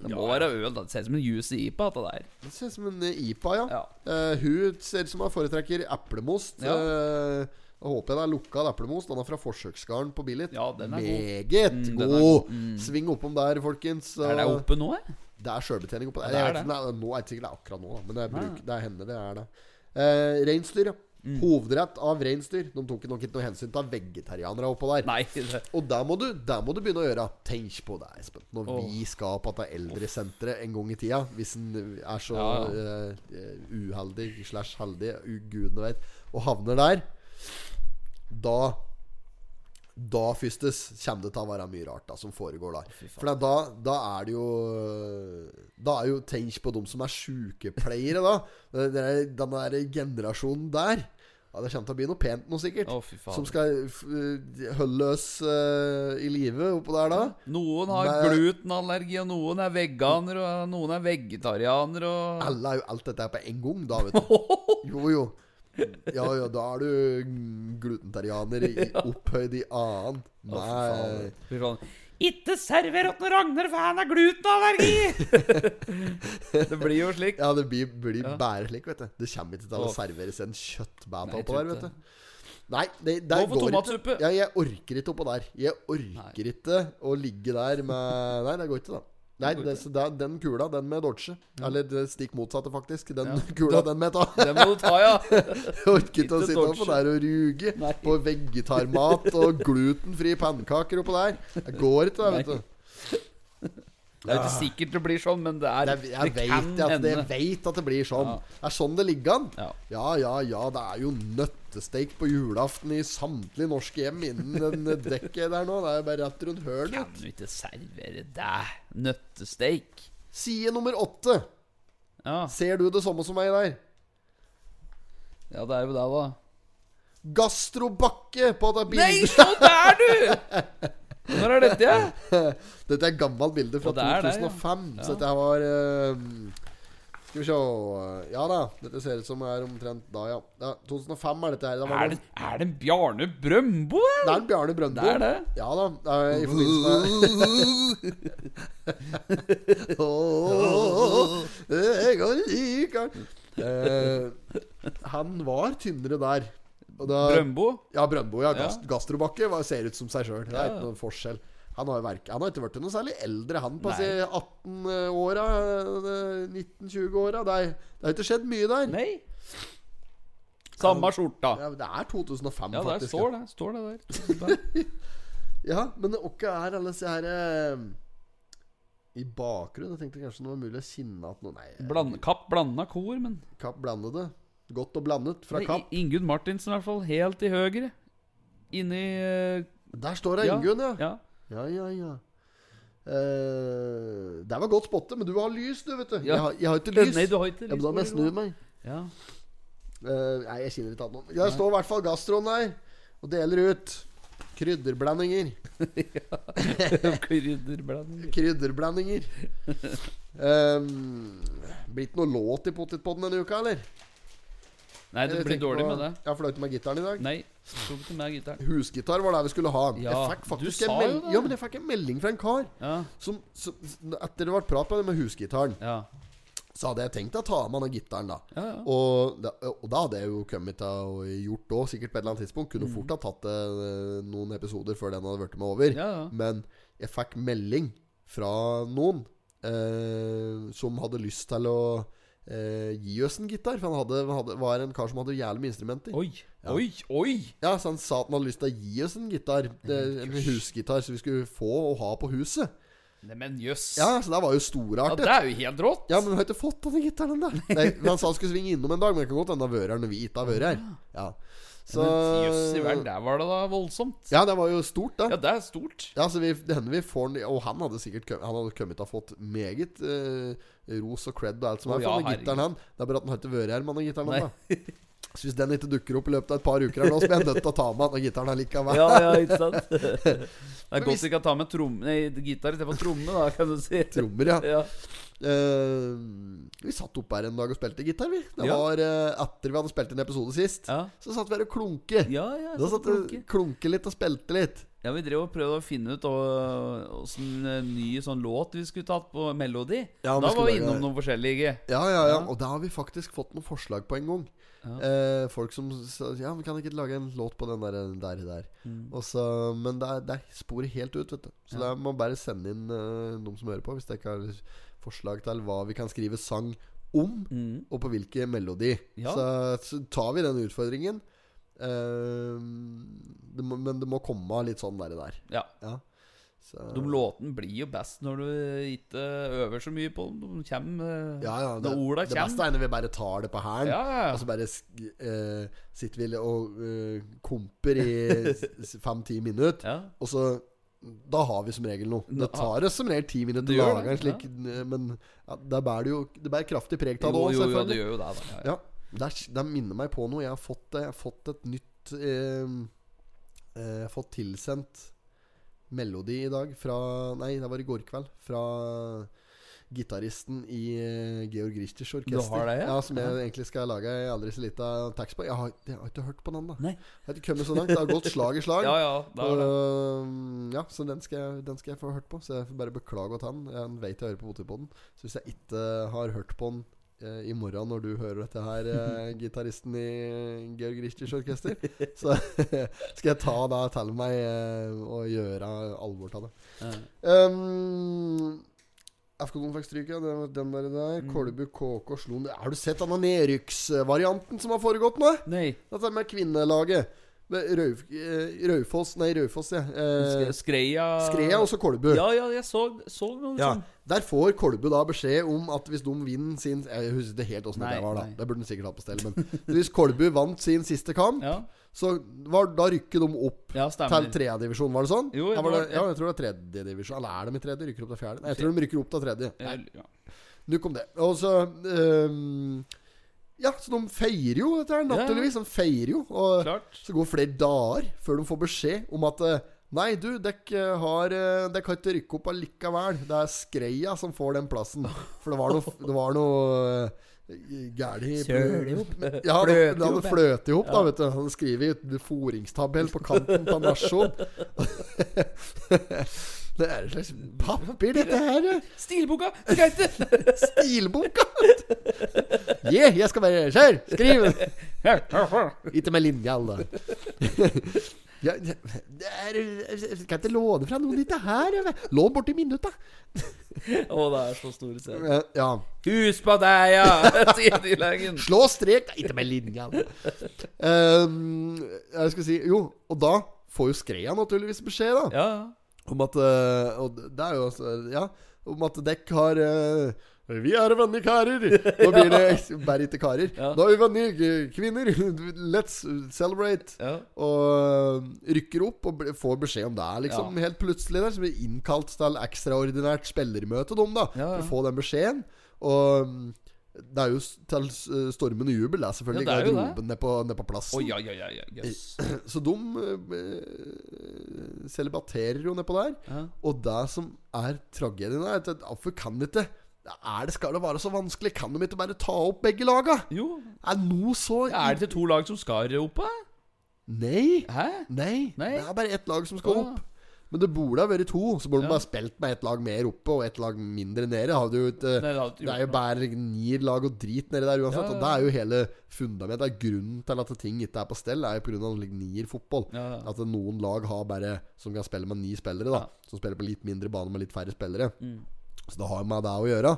Speaker 2: Det må være øl. da. Det ser ut som en juicy IPA, dette der.
Speaker 1: Det ser ut som en eh, IPA, ja.
Speaker 2: Ja.
Speaker 1: Eh, hun ser ut som hun foretrekker eplemost.
Speaker 2: Ja.
Speaker 1: Eh, jeg håper det er lukka eplemost. Den er fra forsøksgarden på Billit.
Speaker 2: Ja, den er god.
Speaker 1: Meget
Speaker 2: Mm,
Speaker 1: god!
Speaker 2: den er god.
Speaker 1: Sving oppom der, folkens.
Speaker 2: Er det
Speaker 1: Eh,
Speaker 2: oppe nå, jeg?
Speaker 1: Det er sjølbetjening oppå der.
Speaker 2: Ja, det Ah. er
Speaker 1: Jeg vet ikke om det er- Nå er det sikkert det er akkurat nå, da, men det er, bruk, det er henne det er det. Eh, reinsdyr, ja.
Speaker 2: Mm.
Speaker 1: Hovedrett av reinsdyr. De tok nok ikke noe hensyn til vegetarianere oppå der.
Speaker 2: Nei. Det.
Speaker 1: Og der må, du, der må du begynne å gjøre. Tenk på det, Espen. Når
Speaker 2: Åh.
Speaker 1: vi skal på dette eldresenteret en gang i tida, hvis en er så
Speaker 2: Ja,
Speaker 1: eh, uheldig slash heldig, u- gudene veit, og havner der, da da fyrstes kommer det til å være mye rart da som foregår der. For det er da, da er det jo Da er jo Tenk på dem som er sykepleiere, da. Den der, den der generasjonen der. Ja, det kommer til å bli noe pent nå, sikkert.
Speaker 2: Å, fy faen.
Speaker 1: Som skal f- holde oss eh, i live oppå der, da.
Speaker 2: Noen har
Speaker 1: Nei.
Speaker 2: glutenallergi, og noen er veganer, og noen er vegetarianer, og
Speaker 1: Alle er jo alt dette her på en gang, da, vet du. Jo, jo. Ja, ja, da er du glutentarianer i, opphøyd i annen.
Speaker 2: Å, fy
Speaker 1: Nei.
Speaker 2: faen. Fy faen. Ikke server åt noen Ragnar, for han har glutenallergi! det blir jo slik.
Speaker 1: Ja, det blir, blir
Speaker 2: Ja.
Speaker 1: bare slik, vet du. Det kommer ikke til å
Speaker 2: Å.
Speaker 1: serveres en kjøttbæbel
Speaker 2: Nei,
Speaker 1: oppå der,
Speaker 2: jeg tror ikke
Speaker 1: vet du. Nei, det, der
Speaker 2: Gå for
Speaker 1: går ikke.
Speaker 2: tomatsuppe.
Speaker 1: Ja, jeg orker ikke oppå der. Jeg orker ikke å ligge der med Nei, det går ikke, da. Nei,
Speaker 2: går
Speaker 1: det,
Speaker 2: ikke.
Speaker 1: så det, er den kula, den med Dodge. Eller det stikk motsatte, faktisk. Den kula, den med ta.
Speaker 2: Det må du ta, ja.
Speaker 1: Jeg orker ikke å
Speaker 2: Ikke
Speaker 1: sitte oppå
Speaker 2: dodge.
Speaker 1: der og ruge
Speaker 2: Nei.
Speaker 1: på vegetarmat og glutenfri pannekaker oppå der. Det går ikke, det, vet
Speaker 2: Nei.
Speaker 1: du.
Speaker 2: Det er jo ikke sikkert det blir sånn, men det er
Speaker 1: Jeg, jeg, vet at, jeg vet at det blir sånn.
Speaker 2: Ja.
Speaker 1: Det er sånn det ligger an.
Speaker 2: Ja.
Speaker 1: Ja, ja, ja. Det er jo nøttesteik på julaften i samtlige norske hjem innen den dekket der nå. Det er bare rett rundt
Speaker 2: Kan
Speaker 1: hølet.
Speaker 2: du ikke servere deg nøttesteik?
Speaker 1: Side nummer åtte.
Speaker 2: Ja.
Speaker 1: Ser du det samme som meg der?
Speaker 2: ja, det er jo det, da.
Speaker 1: Gastrobakke på dette
Speaker 2: Nei,
Speaker 1: bildet.
Speaker 2: se der, du! Når er dette? ja?
Speaker 1: Dette er et gammelt bilde fra
Speaker 2: Og det er det, ja.
Speaker 1: 2005. Så
Speaker 2: Ja.
Speaker 1: dette her var eh, Skal vi se Ja da, dette ser ut som er omtrent da, ja. ja 2005 er dette her. Da var
Speaker 2: Er det, er det en Bjarne Brøndbo? eller?
Speaker 1: Det er en Bjarne Brøndbo.
Speaker 2: Det er det.
Speaker 1: Ja da. det er I forbindelse med Åh, Jeg har like eh, Han var tynnere der. Og da,
Speaker 2: Brøndbo?
Speaker 1: ja, Brøndbo. Ja,
Speaker 2: Ja.
Speaker 1: gast, Gastrobakke var, ser ut som seg sjøl. Det er
Speaker 2: Ja.
Speaker 1: ikke noen forskjell. Han har jo verk- han har ikke blitt noe særlig eldre, han på
Speaker 2: Nei.
Speaker 1: 18-åra. 19-20-åra. eh, Det er- det har ikke skjedd mye der.
Speaker 2: Nei. Samme skjorta.
Speaker 1: Ja, men det er 2005,
Speaker 2: Ja, der
Speaker 1: faktisk.
Speaker 2: står det. Står det der.
Speaker 1: Ja, men åkke er alle disse her eh, I bakgrunnen. Jeg tenkte kanskje det var mulig å kinne at noe Nei, eh,
Speaker 2: Bland, kapp blanda kor, men
Speaker 1: Kapp blandede. Godt og blandet fra
Speaker 2: Det er
Speaker 1: Kapp.
Speaker 2: I- Ingunn Martinsen i hvert fall helt til høyre. Inni eh,
Speaker 1: Der står det Ingunn, ja.
Speaker 2: ja.
Speaker 1: Ja, ja, ja. Eh, der var godt spotte, men du har lys, du, vet du.
Speaker 2: Ja.
Speaker 1: Jeg, har, jeg har ikke lys.
Speaker 2: Nei, du har ikke
Speaker 1: ja, men da må jeg snu meg.
Speaker 2: Ja.
Speaker 1: Eh, nei, jeg kinner ikke an noen. Jeg står i hvert fall gastroen der og deler ut krydderblandinger.
Speaker 2: Krydderblanding.
Speaker 1: Krydderblandinger. Um, Blitt noe låt i potetpodden denne uka, eller?
Speaker 2: Nei, det
Speaker 1: Jeg
Speaker 2: blir
Speaker 1: tenkte
Speaker 2: dårlig
Speaker 1: Eh, på-
Speaker 2: med det.
Speaker 1: Jeg fløy ikke med gitaren i dag.
Speaker 2: Nei. Tok ikke med gitaren.
Speaker 1: Husgitar var det vi skulle ha.
Speaker 2: Ja,
Speaker 1: jeg fikk faktisk
Speaker 2: du
Speaker 1: en
Speaker 2: sa jo
Speaker 1: melding
Speaker 2: det.
Speaker 1: Ja, men jeg fikk en melding fra en kar
Speaker 2: Ja.
Speaker 1: som, som Etter det ble prat på det med husgitaren,
Speaker 2: Ja.
Speaker 1: så hadde jeg tenkt å ta med den gitaren, da.
Speaker 2: Ja, ja.
Speaker 1: Og, da. og da hadde jeg jo kommet til å gjort det òg, sikkert på et eller annet tidspunkt.
Speaker 2: Mm.
Speaker 1: Kunne fort ha tatt det eh, noen episoder før den hadde blitt med over.
Speaker 2: Ja, ja.
Speaker 1: Men jeg fikk melding fra noen eh, som hadde lyst til å eh, gi oss en gitar. For han hadde, hadde, var en kar som hadde jævlig med instrumenter.
Speaker 2: Oi, oi, oi!
Speaker 1: Ja, så han sa at han hadde lyst til å gi oss en gitar. eh, En husgitar som vi skulle få og ha på huset.
Speaker 2: Neimen, jøss.
Speaker 1: Ja, Så det var jo
Speaker 2: Ja,
Speaker 1: storartet.
Speaker 2: det er jo helt rått!
Speaker 1: Ja, men vi har ikke fått denne gitaren ennå. Nei, men Han sa han skulle svinge innom en dag, men det kan godt hende han har vært her når vi ikke har vært her. Ja. Så
Speaker 2: Ah. Men Jøss i verden, der var det da voldsomt.
Speaker 1: Ja, det var jo stort,
Speaker 2: Ja,
Speaker 1: da.
Speaker 2: det er stort.
Speaker 1: Ja, så vi, det hender vi får den Og han hadde sikkert kom- Han hadde kommet til å ha fått meget eh, ros og cred og alt som
Speaker 2: Å,
Speaker 1: er
Speaker 2: ja,
Speaker 1: for den
Speaker 2: herregud.
Speaker 1: gitaren, han. Det er bare at han har ikke vært her med den gitaren,
Speaker 2: Nei.
Speaker 1: han, da. Så hvis den ikke dukker opp i løpet av et par uker her nå, så blir jeg nødt til å ta med den gitaren allikevel.
Speaker 2: Ja, ja, ikke sant? Det er godt
Speaker 1: hvis-
Speaker 2: vi kan ta med trom... Nei, gitar istedenfor tromme, da, kan du si.
Speaker 1: Trommer, ja.
Speaker 2: Ja.
Speaker 1: Eh, vi satt oppe her en dag og spilte gitar, vi. Det
Speaker 2: Ja.
Speaker 1: var eh, etter vi hadde spilt en episode sist.
Speaker 2: Ja,
Speaker 1: Så satt vi her og klunke.
Speaker 2: ja. ja
Speaker 1: da
Speaker 2: så
Speaker 1: satt vi
Speaker 2: klunke.
Speaker 1: og klunke litt og spilte litt.
Speaker 2: Ja, Vi drev og prøvde å finne ut åssen ny sånn låt vi skulle tatt på Melodi.
Speaker 1: Ja, vi
Speaker 2: da
Speaker 1: skulle
Speaker 2: var vi
Speaker 1: lage-
Speaker 2: innom noen forskjellige.
Speaker 1: Ja, ja, ja. Og da har vi faktisk fått noen forslag på en gang. Eh, folk som sa Ja, men kan jeg ikke lage en låt på den der, der, der.
Speaker 2: Mm.
Speaker 1: Og så, men det er, det er sporet helt ut, vet du. Så det er, man bare sende inn eh, de som hører på, hvis dere ikke har forslag til hva vi kan skrive sang om, og på hvilken melodi.
Speaker 2: Mm. Ja.
Speaker 1: Så, så tar vi den utfordringen. Eh, det må, men det må komme av litt sånn der, der.
Speaker 2: Ja,
Speaker 1: Ja. Så-
Speaker 2: De låtene blir jo best når du ikke øver så mye på dem. De kommer eh,
Speaker 1: Ja, ja. Det,
Speaker 2: når orda
Speaker 1: det beste
Speaker 2: kommer.
Speaker 1: er når vi bare tar det på hælen.
Speaker 2: Ja, ja, ja.
Speaker 1: Og så bare sk- eh, sitter vi og eh, komper i fem-ti minutter.
Speaker 2: Ja.
Speaker 1: Og så Da har vi som regel noe. Det tar oss som regel ti minutter
Speaker 2: Det
Speaker 1: å
Speaker 2: gjør
Speaker 1: lage en
Speaker 2: det,
Speaker 1: slik eh, Men ja, der bærer det jo Det bærer kraftig preg av det
Speaker 2: Jo,
Speaker 1: òg,
Speaker 2: jo, jo, det
Speaker 1: selvfølgelig.
Speaker 2: gjør jo det. Da.
Speaker 1: Ja, det, er- det minner meg på noe. Jeg har fått, det- jeg har fått et nytt eh, eh, Fått tilsendt melodi i dag fra Nei, det var i går kveld. Fra gitaristen i eh, Georg Richters orkester.
Speaker 2: Du har det, ja?
Speaker 1: ja? Som jeg egentlig skal lage ei aldri så lita tax på. Jeg har, jeg har ikke hørt på den, da.
Speaker 2: Nei.
Speaker 1: Jeg har ikke kommet så langt. Det har gått slag i slag.
Speaker 2: Ja, ja, det er det.
Speaker 1: Og, um, ja, så den skal, jeg, den skal jeg få hørt på. Så jeg får bare beklage til han. Han vet jeg hører på Motorpodden. Så hvis jeg ikke har hørt på han eh, i morgen når du hører dette her, eh, gitaristen i Georg Richters orkester, så skal jeg ta det til meg eh, og gjøre alvor av det.
Speaker 2: Ja.
Speaker 1: Um, FK-koden fikk stryk, ja. Den, den der. der.
Speaker 2: Mm.
Speaker 1: Kolbu KK slo ned Har du sett denne nedrykksvarianten som har foregått nå?
Speaker 2: Nei,
Speaker 1: Dette med kvinnelaget. Med Rauf, eh, Raufoss Nei, Raufoss, ja. Eh,
Speaker 2: Skreia
Speaker 1: Skreia og så Kolbu.
Speaker 2: Ja, ja, jeg så, så noe liksom.
Speaker 1: Ja.
Speaker 2: sånt.
Speaker 1: Der får Kolbu da beskjed om at hvis de vinner sin Jeg husker ikke helt åssen
Speaker 2: Nei,
Speaker 1: det var, da.
Speaker 2: nei.
Speaker 1: Det burde han sikkert hatt på stell. Men hvis Kolbu vant sin siste kamp,
Speaker 2: Ja,
Speaker 1: så var, da rykker de opp
Speaker 2: ja
Speaker 1: til
Speaker 2: stemmer.
Speaker 1: tredjedivisjon, var det sånn?
Speaker 2: Jo,
Speaker 1: ja,
Speaker 2: det
Speaker 1: var det,
Speaker 2: var-
Speaker 1: ja, jeg tror det er tredjedivisjon. Eller er de i tredje? Rykker opp til fjerde? Nei, jeg tror de rykker opp til tredje. Nei,
Speaker 2: Ja.
Speaker 1: Nok om det. Og så ehm, Ja, så de feirer jo dette her,
Speaker 2: Ja, ja.
Speaker 1: naturligvis. De feirer jo. Og
Speaker 2: Klart.
Speaker 1: så går det flere dager før de får beskjed om at eh, Nei, du, dere har eh, Dere kan ikke rykke opp allikevel. Det er Skreia som får den plassen. For det var noe Det var noe eh, gæli
Speaker 2: Søl i hop.
Speaker 1: Ja, det, det
Speaker 2: Fløte i hop,
Speaker 1: hadde
Speaker 2: ja.
Speaker 1: fløtet i hop, da, vet du. Han skriver i en foringstabell på kanten av nasjon. Det er et slags papir, dette her. eh. ja.
Speaker 2: Stilboka! Skal ikke
Speaker 1: Stilboka! Yeah, jeg skal være Kjør! Skriv! Ikke med linja, alle. Ja, det det er, jeg kan ikke låne fra noen dette her. jeg vet. Lån borti minutta.
Speaker 2: Å, det er så store scener.
Speaker 1: Eh, Ja.
Speaker 2: Hus på deg, ja! Sier de legen.
Speaker 1: Slå strek Ikke med linja. alle. Um, jeg skal si Jo, og da får jo Skreia naturligvis beskjed, da.
Speaker 2: Ja,
Speaker 1: Om at eh, Og det er jo også Ja, om at dekk har eh, vi er vennlige karer! Nå blir det bare ikke karer.
Speaker 2: Ja.
Speaker 1: Nå er vi vennlige kvinner! Let's celebrate!
Speaker 2: ja.
Speaker 1: Og eh, rykker opp og bl- får beskjed om det er liksom
Speaker 2: Ja.
Speaker 1: helt plutselig. der Så blir innkalt til ekstraordinært spillermøte, de, da.
Speaker 2: Ja, ja.
Speaker 1: For å få den beskjeden. Og mm, det er jo s- til s- stormende jubel, det er selvfølgelig.
Speaker 2: Ja, det er jo det.
Speaker 1: garderoben nede på, ned på plassen.
Speaker 2: Å, ja, ja, ja, ja. Jøss.
Speaker 1: Så de eh, celibaterer jo nedpå der.
Speaker 2: Ja.
Speaker 1: Og det som er tragedien, er at at hvorfor kan de ikke er det, Skal det være så vanskelig? Kan de ikke bare ta opp begge laga?
Speaker 2: Jo.
Speaker 1: Er noe så
Speaker 2: Er det til to lag som skal opp, da?
Speaker 1: Nei.
Speaker 2: Hæ?
Speaker 1: Nei.
Speaker 2: Nei.
Speaker 1: Det er bare ett lag som skal
Speaker 2: Å.
Speaker 1: opp. Men det burde ha vært to. Så burde
Speaker 2: Ja.
Speaker 1: de bare spilt med ett lag mer oppe og ett lag mindre nede. Hadde jo ikke-
Speaker 2: Nei, det hadde ikke
Speaker 1: det er jo
Speaker 2: gjort
Speaker 1: bare ni lag og drit nedi der uansett.
Speaker 2: Ja, ja,
Speaker 1: Og det er jo hele fundamentet. Det er Grunnen til at ting ikke er på stell, er jo pga. nierfotball.
Speaker 2: Ja, ja.
Speaker 1: At noen lag har bare som kan spille med ni spillere, da. Som spiller på litt mindre bane med litt færre spillere.
Speaker 2: Mm.
Speaker 1: Så det har jo med det å gjøre.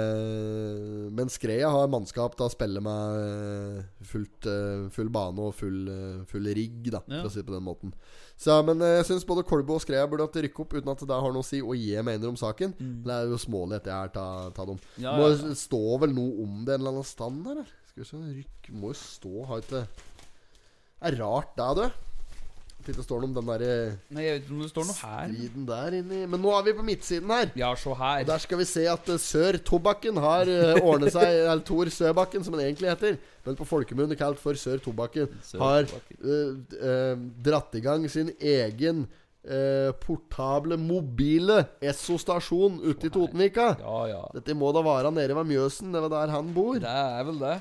Speaker 1: Eh, men Skreia har mannskap til å spille med eh, fullt, eh, full bane og full, eh, full rigg, da,
Speaker 2: Ja.
Speaker 1: for å si det på den måten. Så, men eh, jeg syns både Kolbu og Skreia burde hatt rykke opp uten at det har noe å si hva jeg mener om saken. Men det er jo smålig etter jeg her, ta, ta dem.
Speaker 2: Mm. Ja,
Speaker 1: Må
Speaker 2: ja, ja.
Speaker 1: stå vel noe om det en eller annen stand her, eller? Skal vi se, rykk Må jo stå, har ikke Det er rart, det, du. At det ikke står noe om den der eh,
Speaker 2: Nei, jeg vet ikke om det står noe her.
Speaker 1: striden der inni Men nå er vi på midtsiden her.
Speaker 2: Ja, se her.
Speaker 1: Og Der skal vi se at eh, Sør Tobakken har eh, ordnet seg Eller Tor Søbakken, som han egentlig heter. Men på folkemunne kalt for Sør Tobakken.
Speaker 2: Sør
Speaker 1: Har
Speaker 2: Tobakken.
Speaker 1: eh, eh, dratt i gang sin egen eh, portable, mobile Esso-stasjon ute i Totenvika.
Speaker 2: Ja, ja.
Speaker 1: Dette må da være nede ved Mjøsen, det var der han bor.
Speaker 2: Det er vel det.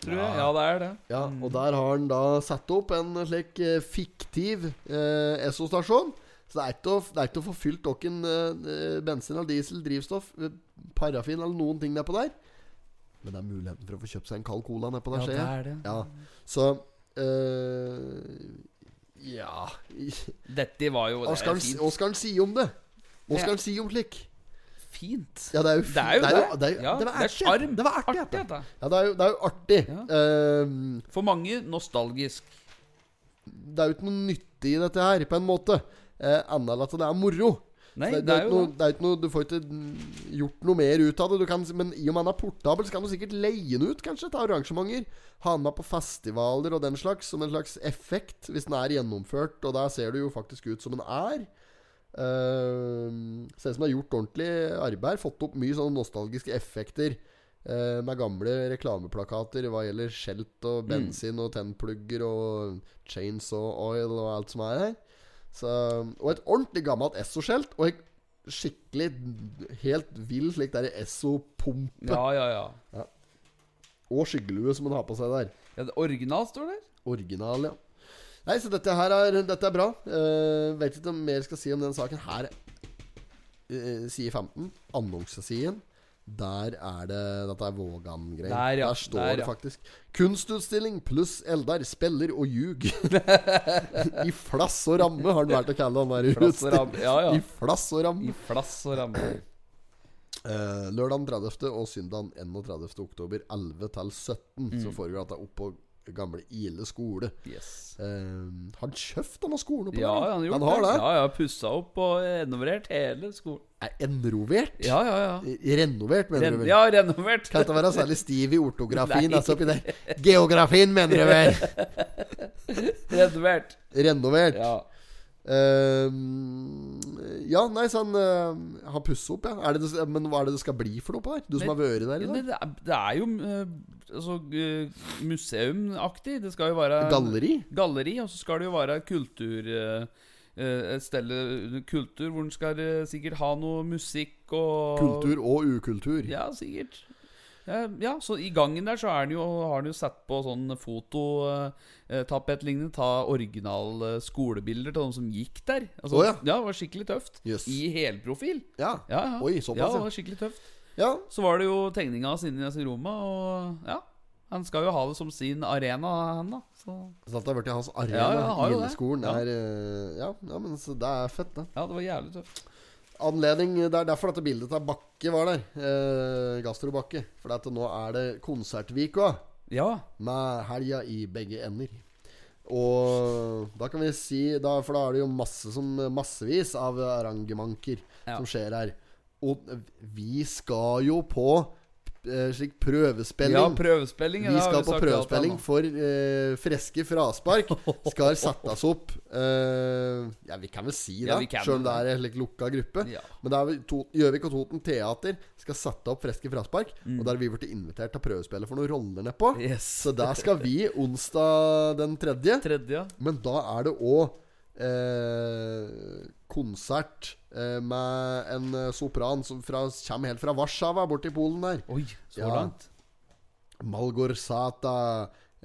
Speaker 2: tror jeg. Ja, det er det.
Speaker 1: Ja, og der har han da satt opp en slik eh, fiktiv eh, Esso-stasjon. Så det er ikke å, det er ikke å få fylt åkken eh, bensin eller diesel, drivstoff, eh, parafin eller noen ting nedpå der. Men det er muligheten for å få kjøpt seg en kald cola nedpå der. ser jeg.
Speaker 2: er det.
Speaker 1: Ja, så eh, Ja
Speaker 2: Dette var jo
Speaker 1: Hva
Speaker 2: det
Speaker 1: skal
Speaker 2: er
Speaker 1: han si-
Speaker 2: fint.
Speaker 1: hva skal han si om det? Hva skal
Speaker 2: Ja.
Speaker 1: han si om slik?
Speaker 2: fint.
Speaker 1: Ja, det er jo
Speaker 2: Det er jo det.
Speaker 1: Det, er jo-
Speaker 2: Ja,
Speaker 1: det var
Speaker 2: det er
Speaker 1: artig.
Speaker 2: sjarm.
Speaker 1: Det var artig.
Speaker 2: Artig,
Speaker 1: dette.
Speaker 2: dette.
Speaker 1: Ja, det er jo, det er jo artig. Eh,
Speaker 2: For mange nostalgisk.
Speaker 1: det er jo ikke noe nyttig i dette her, på en måte. Eh, Annet enn at det er moro.
Speaker 2: Nei,
Speaker 1: det, det, er jo noe, det er ikke noe Du får ikke mm, gjort noe mer ut av det. Du kan, men i og med han er portabel, så kan du sikkert leie den ut, kanskje, til arrangementer. Ha den med på festivaler og den slags, som en slags effekt, hvis den er gjennomført. Og der ser det jo faktisk ut som den er. Eh, ser ut som det er gjort ordentlig arbeid. Fått opp mye sånne nostalgiske effekter. eh, med gamle reklameplakater hva gjelder skjelt og bensin og tennplugger og chainsaw oil og alt som er her. Så, og et ordentlig gammelt Esso-skjelt. Og en skikkelig helt vill slik der Esso-pumpe.
Speaker 2: Ja, ja, ja.
Speaker 1: Og skyggelue som han har på seg der.
Speaker 2: ja det original står der.
Speaker 1: Original, ja. Nei, så dette her er, dette er bra. Eh, vet ikke om mer jeg skal si om den saken her. Eh, side 15, annonsesiden. Der er det Dette er Vågan-greien.
Speaker 2: Der, ja.
Speaker 1: står
Speaker 2: Der,
Speaker 1: det
Speaker 2: ja.
Speaker 1: faktisk. Kunstutstilling pluss Eldar spiller og ljug. I flass og ramme har han vært å kalle han der
Speaker 2: Flass og
Speaker 1: utstillingen.
Speaker 2: ramme. Ja, ja.
Speaker 1: I flass og ramme.
Speaker 2: I flass og ramme.
Speaker 1: Eh, lørdagen 30. og søndagen 31. oktober 11 til 17
Speaker 2: Mm.
Speaker 1: så foregår dette oppå gamle Ile skole.
Speaker 2: Yes.
Speaker 1: Eh, har han kjøpt denne skolen oppå
Speaker 2: Ja,
Speaker 1: der?
Speaker 2: han gjorde
Speaker 1: har det?
Speaker 2: Ja, ja, Pussa opp og renovert hele skolen.
Speaker 1: Er enrovert?
Speaker 2: Ja, ja, ja.
Speaker 1: Eh, Renovert, mener
Speaker 2: Ren
Speaker 1: du vel?
Speaker 2: ja, renovert.
Speaker 1: Kan ikke være særlig stiv i ortografien.
Speaker 2: Nei.
Speaker 1: altså oppi der. Geografien, mener du vel?
Speaker 2: Renovert.
Speaker 1: Renovert.
Speaker 2: Ja.
Speaker 1: Eh, ja, nei, så han eh, har pussa opp, ja. Er det, det- men hva er det det skal bli for noe på der? Du som har vært der i
Speaker 2: Det,
Speaker 1: dag?
Speaker 2: det, er, det er jo eh, altså, eh, museumaktig. Det skal jo være
Speaker 1: Galleri?
Speaker 2: galleri, og så skal det jo være kultur eh, eh, Et sted under kultur hvor en skal eh, sikkert ha noe musikk og
Speaker 1: Kultur og ukultur.
Speaker 2: Ja, sikkert. Eh, Ja, så i gangen der så er den jo, har han jo satt på sånn fototapet-lignende. Ta original eh, skolebilder til de som gikk der. Altså,
Speaker 1: Å, ja.
Speaker 2: det var skikkelig tøft.
Speaker 1: Jøss.
Speaker 2: I helprofil.
Speaker 1: Ja.
Speaker 2: Ja, ja.
Speaker 1: Oi, såpass,
Speaker 2: ja.
Speaker 1: ja.
Speaker 2: Det var skikkelig tøft.
Speaker 1: ja.
Speaker 2: Så var det jo tegninga hans inni i Roma, og ja. Han skal jo ha det som sin arena, han da. Så
Speaker 1: Så dette Sånn har vært i hans arena.
Speaker 2: Ja, ja,
Speaker 1: Ja,
Speaker 2: han har jo det.
Speaker 1: Gildeskolen
Speaker 2: Ja.
Speaker 1: er eh, ja. ja, men så det er fett, det.
Speaker 2: ja, det var jævlig tøft.
Speaker 1: Anledning Det er derfor dette bildet av Bakke var der. Eh, Gastrobakke. For at nå er det konsertvika
Speaker 2: Ja.
Speaker 1: med helga i begge ender. Og da kan vi si da, For da er det jo masse som, massevis av arrangementer
Speaker 2: Ja.
Speaker 1: som skjer her. Og vi skal jo på eh, slik prøvespilling.
Speaker 2: Ja, prøvespilling.
Speaker 1: Vi
Speaker 2: det har
Speaker 1: skal på
Speaker 2: sagt ja til
Speaker 1: prøvespilling
Speaker 2: han da.
Speaker 1: for eh, freske fraspark. Skal settes opp eh, Ja, vi kan vel si det,
Speaker 2: Ja, vi kan
Speaker 1: selv om det
Speaker 2: vel
Speaker 1: er en slik lukka gruppe.
Speaker 2: Ja.
Speaker 1: Men det er vel to- Gjøvik og Toten Teater skal sette opp freske fraspark. Og der har vi blitt invitert til prøvespillet for noen roller nedpå.
Speaker 2: Yes.
Speaker 1: Så der skal vi onsdag den tredje.
Speaker 2: Tredje, ja.
Speaker 1: Men da er det òg eh, konsert eh, med en eh, sopran som fra, kommer helt fra Warszawa, borti Polen der.
Speaker 2: Oi, så
Speaker 1: Ja.
Speaker 2: langt.
Speaker 1: Malgorsata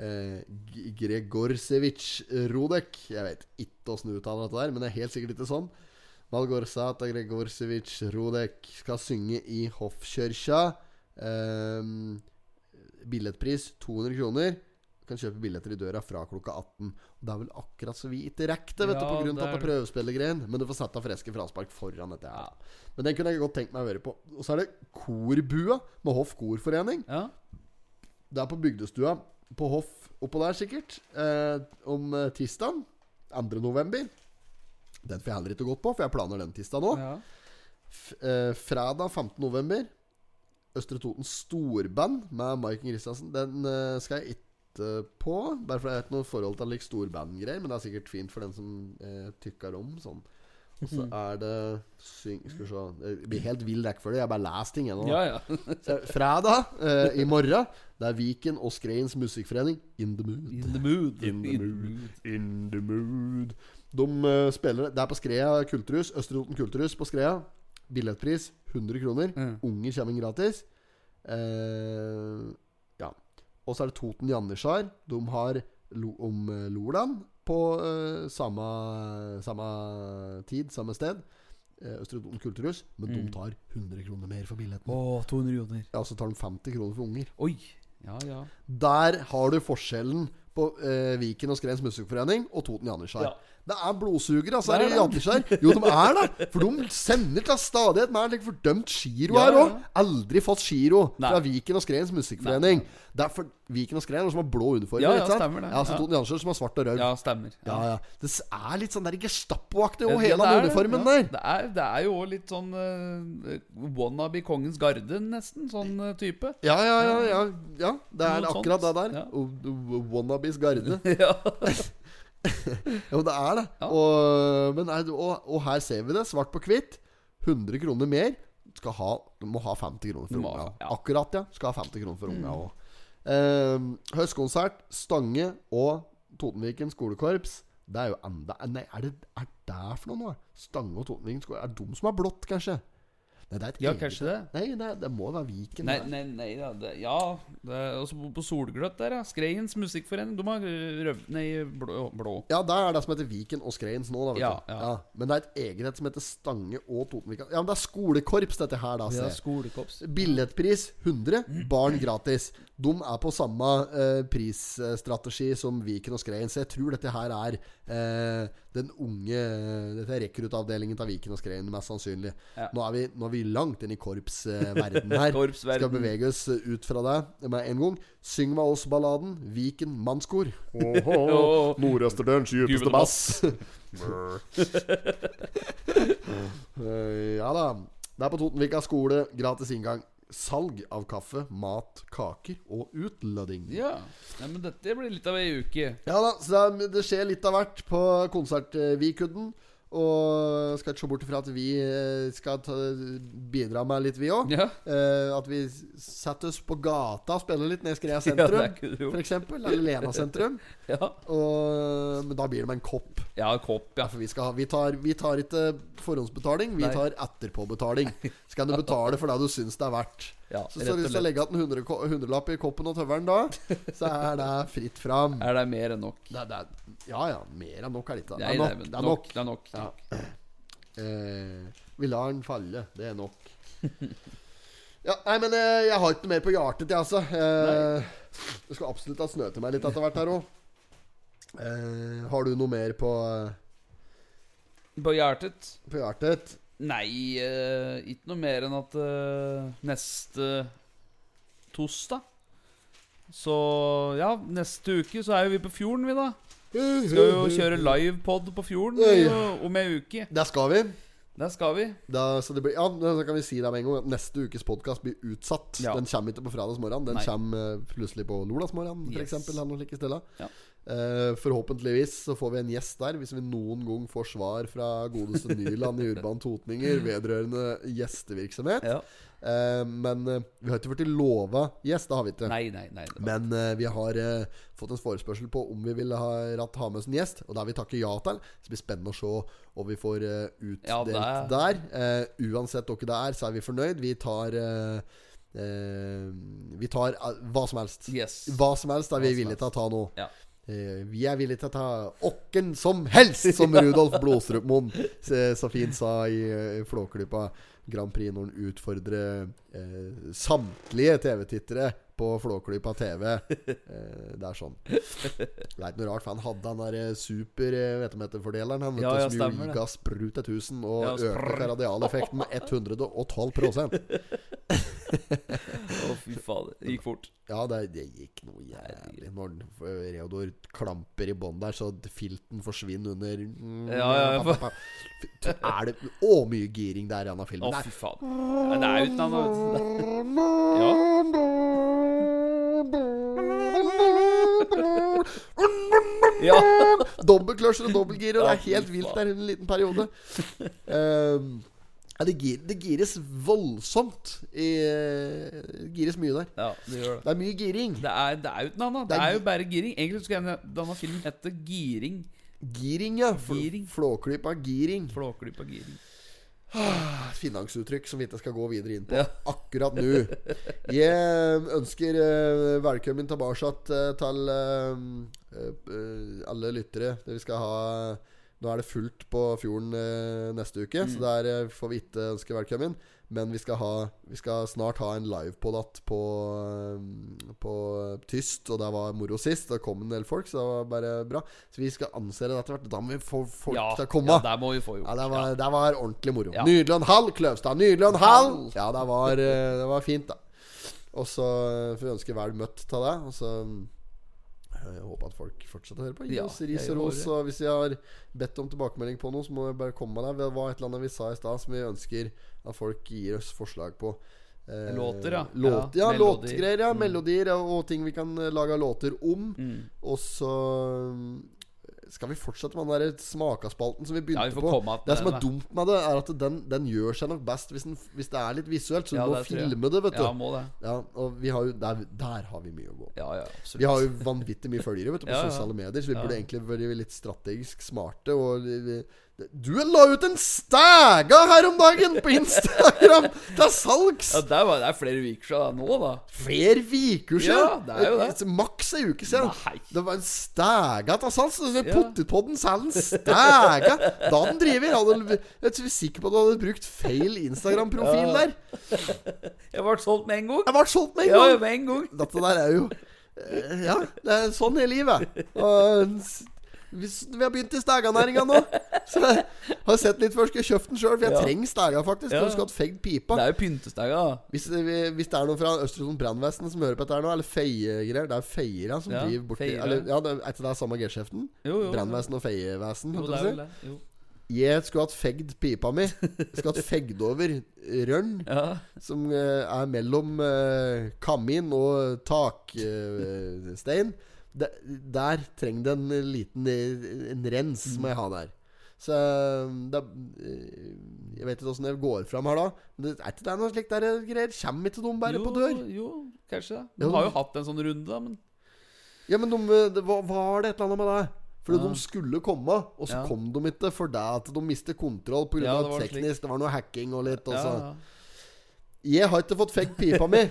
Speaker 1: eh, G- Gregorsevic Rodek Jeg vet ikke åssen du uttaler dette der, men det er helt sikkert ikke sånn. Malgorsata Gregorsevic Rodek skal synge i hoffkirka. Eh, billettpris 200 kroner. Du kan kjøpe billetter i døra fra klokka 18. Og det er vel akkurat så vi ikke rekker det, vet du,
Speaker 2: Ja,
Speaker 1: på grunn
Speaker 2: det
Speaker 1: av
Speaker 2: er
Speaker 1: dette prøvespillergreien. Men du får satt av freske fraspark foran dette her. Men den kunne jeg godt tenkt meg å høre på. Og så er det Korbua med Hoff Korforening.
Speaker 2: Ja.
Speaker 1: Det er på Bygdestua på Hoff oppå der, sikkert. Eh, om eh, tirsdagen. 2. november. Den får jeg heller ikke gått på, for jeg planer den tirsdag nå.
Speaker 2: ja.
Speaker 1: F eh, fredag 15. november. Østre Totens storband med Maiken Kristiansen. Den eh, skal jeg ikke på. Bare fordi jeg har ikke noe forhold til like, storbandgreier, men det er sikkert fint for den som eh, tykker om sånn. Og
Speaker 2: Mhm.
Speaker 1: så er det syng, Skal vi se Det blir helt vill rekkefølge. Jeg bare leser ting ennå.
Speaker 2: ja, ja.
Speaker 1: Så Fredag eh, i morgen Det er Viken og Skreins musikkforening In the Mood
Speaker 2: In the mood.
Speaker 1: In the In the Mood De eh, spiller Det er på Skrea Kulturhus Østeroten Kulturhus på Skrea Billettpris 100 kroner
Speaker 2: Mm.
Speaker 1: Unger kommer inn gratis eh, Ja Og så er det Toten Jannisjar. De har lo om eh, Loland på eh, samme, samme tid, samme sted. Eh, Østre Toten kulturhus. Men de tar 100 kroner mer for billetten.
Speaker 2: Å, 200 joner.
Speaker 1: Ja, så tar de 50 kroner for unger.
Speaker 2: Oi. Ja, ja.
Speaker 1: Der har du forskjellen på eh, Viken og Skrens Musikkforening og Toten Jannisjar.
Speaker 2: Ja.
Speaker 1: Det er blodsugere, altså,
Speaker 2: Det er
Speaker 1: her i Jannisjar. Jo, de er det! For de sender til stadighet med en like fordømt giro
Speaker 2: Ja,
Speaker 1: her
Speaker 2: ja,
Speaker 1: òg. Aldri fått giro
Speaker 2: Nei.
Speaker 1: fra Viken og Skrens Musikkforening. Det er for Viken og Skren er de som har blå uniformer.
Speaker 2: Ja, ja,
Speaker 1: ikke sant?
Speaker 2: stemmer det.
Speaker 1: Ja, så
Speaker 2: Ja.
Speaker 1: Toten Jannisjar som har svart og rød. Ja.
Speaker 2: ja stemmer.
Speaker 1: Ja, Det s- er litt sånn der Gestapo-aktig
Speaker 2: Ja,
Speaker 1: over
Speaker 2: det
Speaker 1: hele
Speaker 2: er
Speaker 1: den
Speaker 2: det.
Speaker 1: uniformen
Speaker 2: Ja,
Speaker 1: der.
Speaker 2: Det er, det er jo også litt sånn eh, wannabe kongens garde, nesten. Sånn eh, type.
Speaker 1: Ja, ja, ja. ja, ja. Det er
Speaker 2: Noe sånt.
Speaker 1: akkurat det der.
Speaker 2: Ja.
Speaker 1: O- o- Wannabes garde.
Speaker 2: ja.
Speaker 1: Jo, det er det.
Speaker 2: Ja.
Speaker 1: Og, men er, og, og her ser vi det, svart på hvitt. 100 kroner mer. Skal ha, du må ha 50 kroner for
Speaker 2: Du må
Speaker 1: unga.
Speaker 2: ha- ja. Mm.
Speaker 1: Akkurat, ja. Skal ha 50 kroner for unga òg. høstkonsert, Stange og Totenviken skolekorps. Det er jo enda Nei, er det er det for noe nå? Stange og Totenviken skolekorps. Er det de som har blått, kanskje? Nei, det er et
Speaker 2: ja,
Speaker 1: eget-
Speaker 2: kanskje det.
Speaker 1: Nei, det, det må være Viken.
Speaker 2: Nei,
Speaker 1: det.
Speaker 2: nei, nei da. Det, ja. Det, og så på- på Solgløtt der, ja. Skreiens musikkforening. De har røv... Nei, blå. blå.
Speaker 1: Ja, det er det som heter Viken og Skreins nå, da. Vet
Speaker 2: Ja,
Speaker 1: du.
Speaker 2: ja.
Speaker 1: Men det er et eget et som heter Stange og Totenviken. Ja, men det er skolekorps, dette her, da.
Speaker 2: Det er
Speaker 1: se.
Speaker 2: skolekorps.
Speaker 1: Billettpris 100, barn gratis. De er på samme eh, prisstrategi som Viken og Skrein. Så jeg tror dette her er eh, den unge Dette er rekruttavdelingen av Viken og Skrein, mest sannsynlig.
Speaker 2: Ja.
Speaker 1: Nå, er vi, nå er vi langt inn i korpsverdenen her.
Speaker 2: Korpsverden.
Speaker 1: Skal bevege oss ut fra det med en gang. Syng med oss-balladen Viken mannskor.
Speaker 2: Åh.
Speaker 1: Nordøsterdørens
Speaker 2: Djupeste bass.
Speaker 1: Eh, ja da. Det er på Totenvika skole. Gratis inngang. Salg av kaffe, mat, kaker og utlødding.
Speaker 2: Ja. Nei, men dette blir litt av ei uke.
Speaker 1: Ja da, så det, er- det skjer litt av hvert på konsertvikudden. Og skal ikke se bort ifra at vi eh, skal ta, bidra med litt, vi òg.
Speaker 2: Ja.
Speaker 1: Eh, at vi setter oss på gata og spiller litt ned i Skrea
Speaker 2: Ja, det
Speaker 1: sentrum,
Speaker 2: er ikke det jo.
Speaker 1: for eksempel. Eller Lena sentrum.
Speaker 2: Ja.
Speaker 1: Og, men da blir det med en kopp.
Speaker 2: ja, kopp, ja.
Speaker 1: Ja, for vi, skal ha, vi, tar, vi tar ikke forhåndsbetaling, vi
Speaker 2: Nei.
Speaker 1: tar etterpåbetaling. Så kan du betale for det du syns det er verdt.
Speaker 2: Ja,
Speaker 1: så
Speaker 2: rett
Speaker 1: så
Speaker 2: og
Speaker 1: hvis du
Speaker 2: slett.
Speaker 1: legger igjen en hundre ko- hundrelapp i koppen og tøvelen da, så er det fritt fram.
Speaker 2: Er det mer enn nok?
Speaker 1: Det, er- det, er- ja ja, mer enn nok er det ikke. Det
Speaker 2: Nei,
Speaker 1: er
Speaker 2: nei,
Speaker 1: nok. Det
Speaker 2: men
Speaker 1: er nok.
Speaker 2: Det er nok.
Speaker 1: Ja. Eh, vi lar den falle. Det er nok. Ja, nei, men eh, jeg har ikke noe mer på hjertet, jeg, altså. Eh, det skal absolutt ha snø til meg litt etter hvert her òg. Eh, har du noe mer på, eh,
Speaker 2: På hjertet?
Speaker 1: på hjertet?
Speaker 2: Nei, eh, ikke noe mer enn at eh, neste torsdag Så ja, neste uke så er jo vi på fjorden, vi, da. Skal jo kjøre livepod på fjorden
Speaker 1: Ja, ja.
Speaker 2: eh, om ei uke.
Speaker 1: Der skal vi.
Speaker 2: Der skal vi.
Speaker 1: Da, så det blir, ja, da kan vi si det med en gang at neste ukes podkast blir utsatt.
Speaker 2: Ja.
Speaker 1: Den kommer ikke på fredagsmorgen. Den
Speaker 2: Nei.
Speaker 1: kommer eh, plutselig på lolagsmorgen,
Speaker 2: Yes.
Speaker 1: f.eks.
Speaker 2: Ja.
Speaker 1: Eh, forhåpentligvis så får vi en gjest der, hvis vi noen gang får svar fra godeste Nyland i Urban Totninger vedrørende gjestevirksomhet.
Speaker 2: Ja.
Speaker 1: Eh, men eh, vi har ikke blitt lova gjest, det har vi ikke.
Speaker 2: Nei, nei, nei. det var-
Speaker 1: Men eh, vi har eh, fått en forespørsel på om vi vil ha, ratt- ha med oss en gjest, og det har vi takket ja til. Så det blir spennende å se om vi får eh,
Speaker 2: Ja,
Speaker 1: utdelt
Speaker 2: det er-
Speaker 1: der. Eh, uansett hvem det er, så er vi fornøyd. Vi tar eh, eh, Vi tar eh, hva som helst.
Speaker 2: Yes.
Speaker 1: Hva som helst er vi
Speaker 2: Hva som
Speaker 1: villige til å ta nå.
Speaker 2: Ja.
Speaker 1: Eh, vi er villige til å ta åkken som helst, som Rudolf Blodstrupmoen så, så fint sa i eh, Flåklypa Grand Prix, når han utfordrer eh, samtlige TV-tittere på Flåklypa TV. Eh, det er sånn. Det er ikke noe rart, for han hadde han der eh, super eh, vet du, hva heter fordeleren Han vet
Speaker 2: Ja,
Speaker 1: du,
Speaker 2: ja,
Speaker 1: som jo
Speaker 2: stemmer det.
Speaker 1: ga sprut 1000 og
Speaker 2: Ja,
Speaker 1: økte
Speaker 2: sprr.
Speaker 1: karadialeffekten med 112
Speaker 2: Å, fy fader. Det gikk fort.
Speaker 1: Ja, det, det gikk noe jævlig. Når den- for Reodor klamper i bånn der, så filten forsvinner under mm,
Speaker 2: Ja, ja, ja.
Speaker 1: Er det Å, mye giring der i denne filmen.
Speaker 2: Å,
Speaker 1: Der.
Speaker 2: fy fader. Ja, Det er uten annet. Ja. Ja.
Speaker 1: Dobbelkløsjer og dobbeltgir, og det
Speaker 2: Ja,
Speaker 1: er helt
Speaker 2: fy
Speaker 1: vilt
Speaker 2: faen.
Speaker 1: der i en liten periode. Ehm, ja, det, gir, det gires voldsomt. I, det gires mye der.
Speaker 2: ja, det gjør det.
Speaker 1: Det er mye giring.
Speaker 2: Det er, det er jo ikke noe annet.
Speaker 1: Det
Speaker 2: Det
Speaker 1: er
Speaker 2: er jo
Speaker 1: gi-
Speaker 2: bare giring. Egentlig skulle denne, denne filmen hete Giring.
Speaker 1: Giring, ja. Fl
Speaker 2: Giring.
Speaker 1: Flåklypa giring.
Speaker 2: Flåklypa giring.
Speaker 1: ah, finansuttrykk som vi ikke skal gå videre inn på
Speaker 2: Ja.
Speaker 1: akkurat nå. Jeg ønsker eh, velkommen tilbake eh, til eh, eh, alle lyttere. Det vi skal ha Nå er det fullt på fjorden eh, neste uke,
Speaker 2: Mm.
Speaker 1: så der eh, får vi ikke ønske velkommen. Men vi skal, ha, vi skal snart ha en livepodat på, eh, på tyst, og det var moro sist. Det kom en del folk, så det var bare bra. Så vi skal ansere det etter hvert. Da må vi få folk
Speaker 2: Ja,
Speaker 1: til å komme.
Speaker 2: ja, der må vi få
Speaker 1: Ja,
Speaker 2: gjort.
Speaker 1: det var, det var ordentlig moro.
Speaker 2: Ja.
Speaker 1: Nydelig og en halv, Kløvstad. Nydelig og en halv! Ja, det var, eh, det var fint, da. Og så eh, får vi ønske vel møtt til deg. Og så eh, jeg håper at folk fortsetter å høre på. Gi
Speaker 2: Ja,
Speaker 1: oss ris
Speaker 2: jeg
Speaker 1: og ros.
Speaker 2: håper det.
Speaker 1: Og hvis vi har bedt om tilbakemelding på noe, så må vi bare komme med det. Det var et eller annet vi sa i stad som vi ønsker at folk gir oss forslag på. Eh,
Speaker 2: Låter, ja.
Speaker 1: Låt, ja,
Speaker 2: Ja, melodier. Mm.
Speaker 1: låtgreier, ja. Melodier og, og ting vi kan eh, lage låter om. Og så mm, skal vi fortsette med den der smakaspalten som vi
Speaker 2: Ja,
Speaker 1: begynte
Speaker 2: vi får
Speaker 1: på.
Speaker 2: komme att med
Speaker 1: Det som er
Speaker 2: den, da.
Speaker 1: dumt med det, er at den, den gjør seg nok best hvis, den, hvis det er litt visuelt. Så
Speaker 2: Ja,
Speaker 1: du må
Speaker 2: det tror jeg.
Speaker 1: filme det, vet du.
Speaker 2: Ja, må det.
Speaker 1: Ja, og vi har jo der, der har vi mye å gå på.
Speaker 2: Ja, ja, absolutt.
Speaker 1: Vi har jo vanvittig mye følgere vet du, på
Speaker 2: Ja, ja.
Speaker 1: sosiale medier, så vi
Speaker 2: Ja.
Speaker 1: burde egentlig vært litt strategisk smarte. Og vi- vi- du la ut en stæga her om dagen på Instagram! Til salgs!
Speaker 2: Ja, det, var, det er flere uker siden nå, da.
Speaker 1: Flere uker siden!
Speaker 2: Ja, det er jo det.
Speaker 1: Maks ei uke siden.
Speaker 2: Nei.
Speaker 1: Det var en stæga til salgs. Ja.
Speaker 2: Ja.
Speaker 1: Pottetpodden selger en stæga! Da den driver. Hadde, jeg er sikker på at du hadde brukt feil Instagram-profil der.
Speaker 2: Jeg ble solgt med en gang.
Speaker 1: Jeg ble solgt med en
Speaker 2: Ja,
Speaker 1: gang!
Speaker 2: med en gang.
Speaker 1: Dette der er jo eh, Ja, det er sånn er livet. Og eh, s- vi, s- vi har begynt i stæganæringa nå. Så jeg har sett litt før. Skal jeg kjøpe den sjøl? For jeg
Speaker 2: Ja.
Speaker 1: trenger stæga, faktisk.
Speaker 2: Ja.
Speaker 1: For jeg skulle hatt fegd pipa.
Speaker 2: Det er jo pyntestega, da.
Speaker 1: Hvis, vi- hvis det er noen fra Østersund brannvesen som hører på dette her nå, eller feiegreier Det er feiere som
Speaker 2: Ja,
Speaker 1: driver borti
Speaker 2: feiere.
Speaker 1: eller, Ja, det er, er ikke det samme G-sjeften?
Speaker 2: Jo, jo.
Speaker 1: Brannvesen og feievesen.
Speaker 2: Jo,
Speaker 1: holdt
Speaker 2: det
Speaker 1: jeg på
Speaker 2: er
Speaker 1: å si.
Speaker 2: vel det. Jo.
Speaker 1: Jeg skulle hatt fegd pipa mi. Jeg skulle hatt fegd over rønn,
Speaker 2: Ja.
Speaker 1: som eh, er mellom eh, kamin og takstein. stein der, der trenger det en liten eh, En rens,
Speaker 2: Mm.
Speaker 1: må jeg ha der. Så eh, det, er- eh, Jeg vet ikke åssen det går fram her da. Men det, er ikke det noe slikt der eh, greier? Kommer ikke de bare
Speaker 2: jo,
Speaker 1: på dør?
Speaker 2: Jo, kanskje det.
Speaker 1: Jo.
Speaker 2: De har jo hatt en sånn runde, da, men
Speaker 1: Ja, men de, eh, det var, var det et eller annet med det? Fordi
Speaker 2: Ja.
Speaker 1: de skulle komme, og så
Speaker 2: Ja.
Speaker 1: kom de ikke fordi at de mistet kontroll pga.
Speaker 2: Ja,
Speaker 1: Ja,
Speaker 2: det var
Speaker 1: teknisk Det var noe hacking og litt. Og
Speaker 2: ja,
Speaker 1: så.
Speaker 2: ja.
Speaker 1: Jeg har ikke fått fegd pipa mi.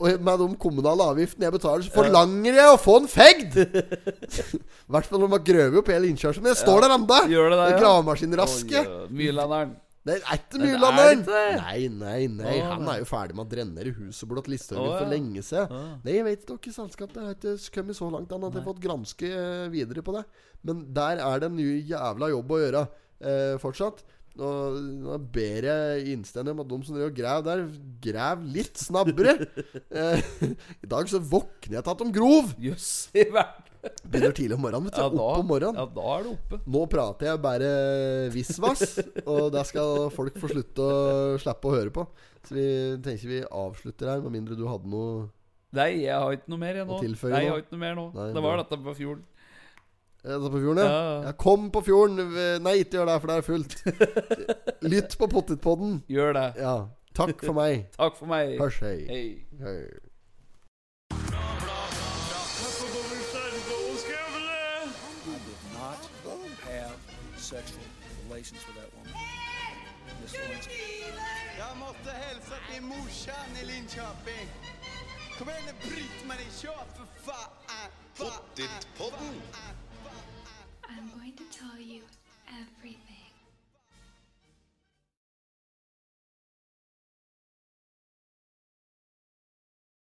Speaker 1: Og med de kommunale avgiftene jeg betaler, så forlanger jeg å få den fegd! I hvert fall når man grøver opp hele innkjørselen. Men jeg står der ennå!
Speaker 2: Gjør det der,
Speaker 1: Med
Speaker 2: ja.
Speaker 1: Gravemaskinraske.
Speaker 2: Oi, Myrlanderen.
Speaker 1: Det er ikke
Speaker 2: Nei, det er
Speaker 1: Myrlanderen!
Speaker 2: ikke det.
Speaker 1: Nei, nei, nei.
Speaker 2: Å,
Speaker 1: Han
Speaker 2: nei.
Speaker 1: er jo ferdig med å drenere huset blått Listhaugen
Speaker 2: Å, ja.
Speaker 1: for lenge siden.
Speaker 2: Å.
Speaker 1: Nei, jeg vet ikke, selskapet har ikke kommet så langt an at jeg har fått granske eh, videre på det. Men der er det en ny jævla jobb å gjøre eh, fortsatt. Og da ber jeg innstendig om at de som driver og graver der, grav litt snabbere. eh, I dag så våkner jeg til at de grov.
Speaker 2: Jøss i verden.
Speaker 1: Begynner tidlig om morgenen. Vet du,
Speaker 2: Ja, da-
Speaker 1: opp om morgenen.
Speaker 2: Ja, da er det oppe.
Speaker 1: Nå prater jeg bare visvas, og der skal folk få slutte å slippe å høre på. Så vi tenker vi avslutter her, med mindre du hadde noe
Speaker 2: Nei, jeg har ikke noe mer jeg nå.
Speaker 1: Å tilføye
Speaker 2: Nei, jeg
Speaker 1: nå?
Speaker 2: har ikke noe mer nå.
Speaker 1: Nei,
Speaker 2: det var
Speaker 1: bra.
Speaker 2: dette på fjorden.
Speaker 1: Er det på fjorden, ja?
Speaker 2: Ja.
Speaker 1: ja. Kom på fjorden! V- Nei, ikke gjør det, for det er fullt. Lytt på Pottetpodden.
Speaker 2: Gjør det.
Speaker 1: Ja. Takk for meg.
Speaker 2: Takk for meg.
Speaker 1: Hørs, hei.
Speaker 2: Hei.
Speaker 1: hei.
Speaker 3: I did not have sexual relations with that woman. Miss Lewinsky.
Speaker 4: Jag måste hälsa till morsan i Linköping. Kom igen nu Britt-Marie, kör för fan! Pottit-podden!
Speaker 5: I'm going to tell you everything.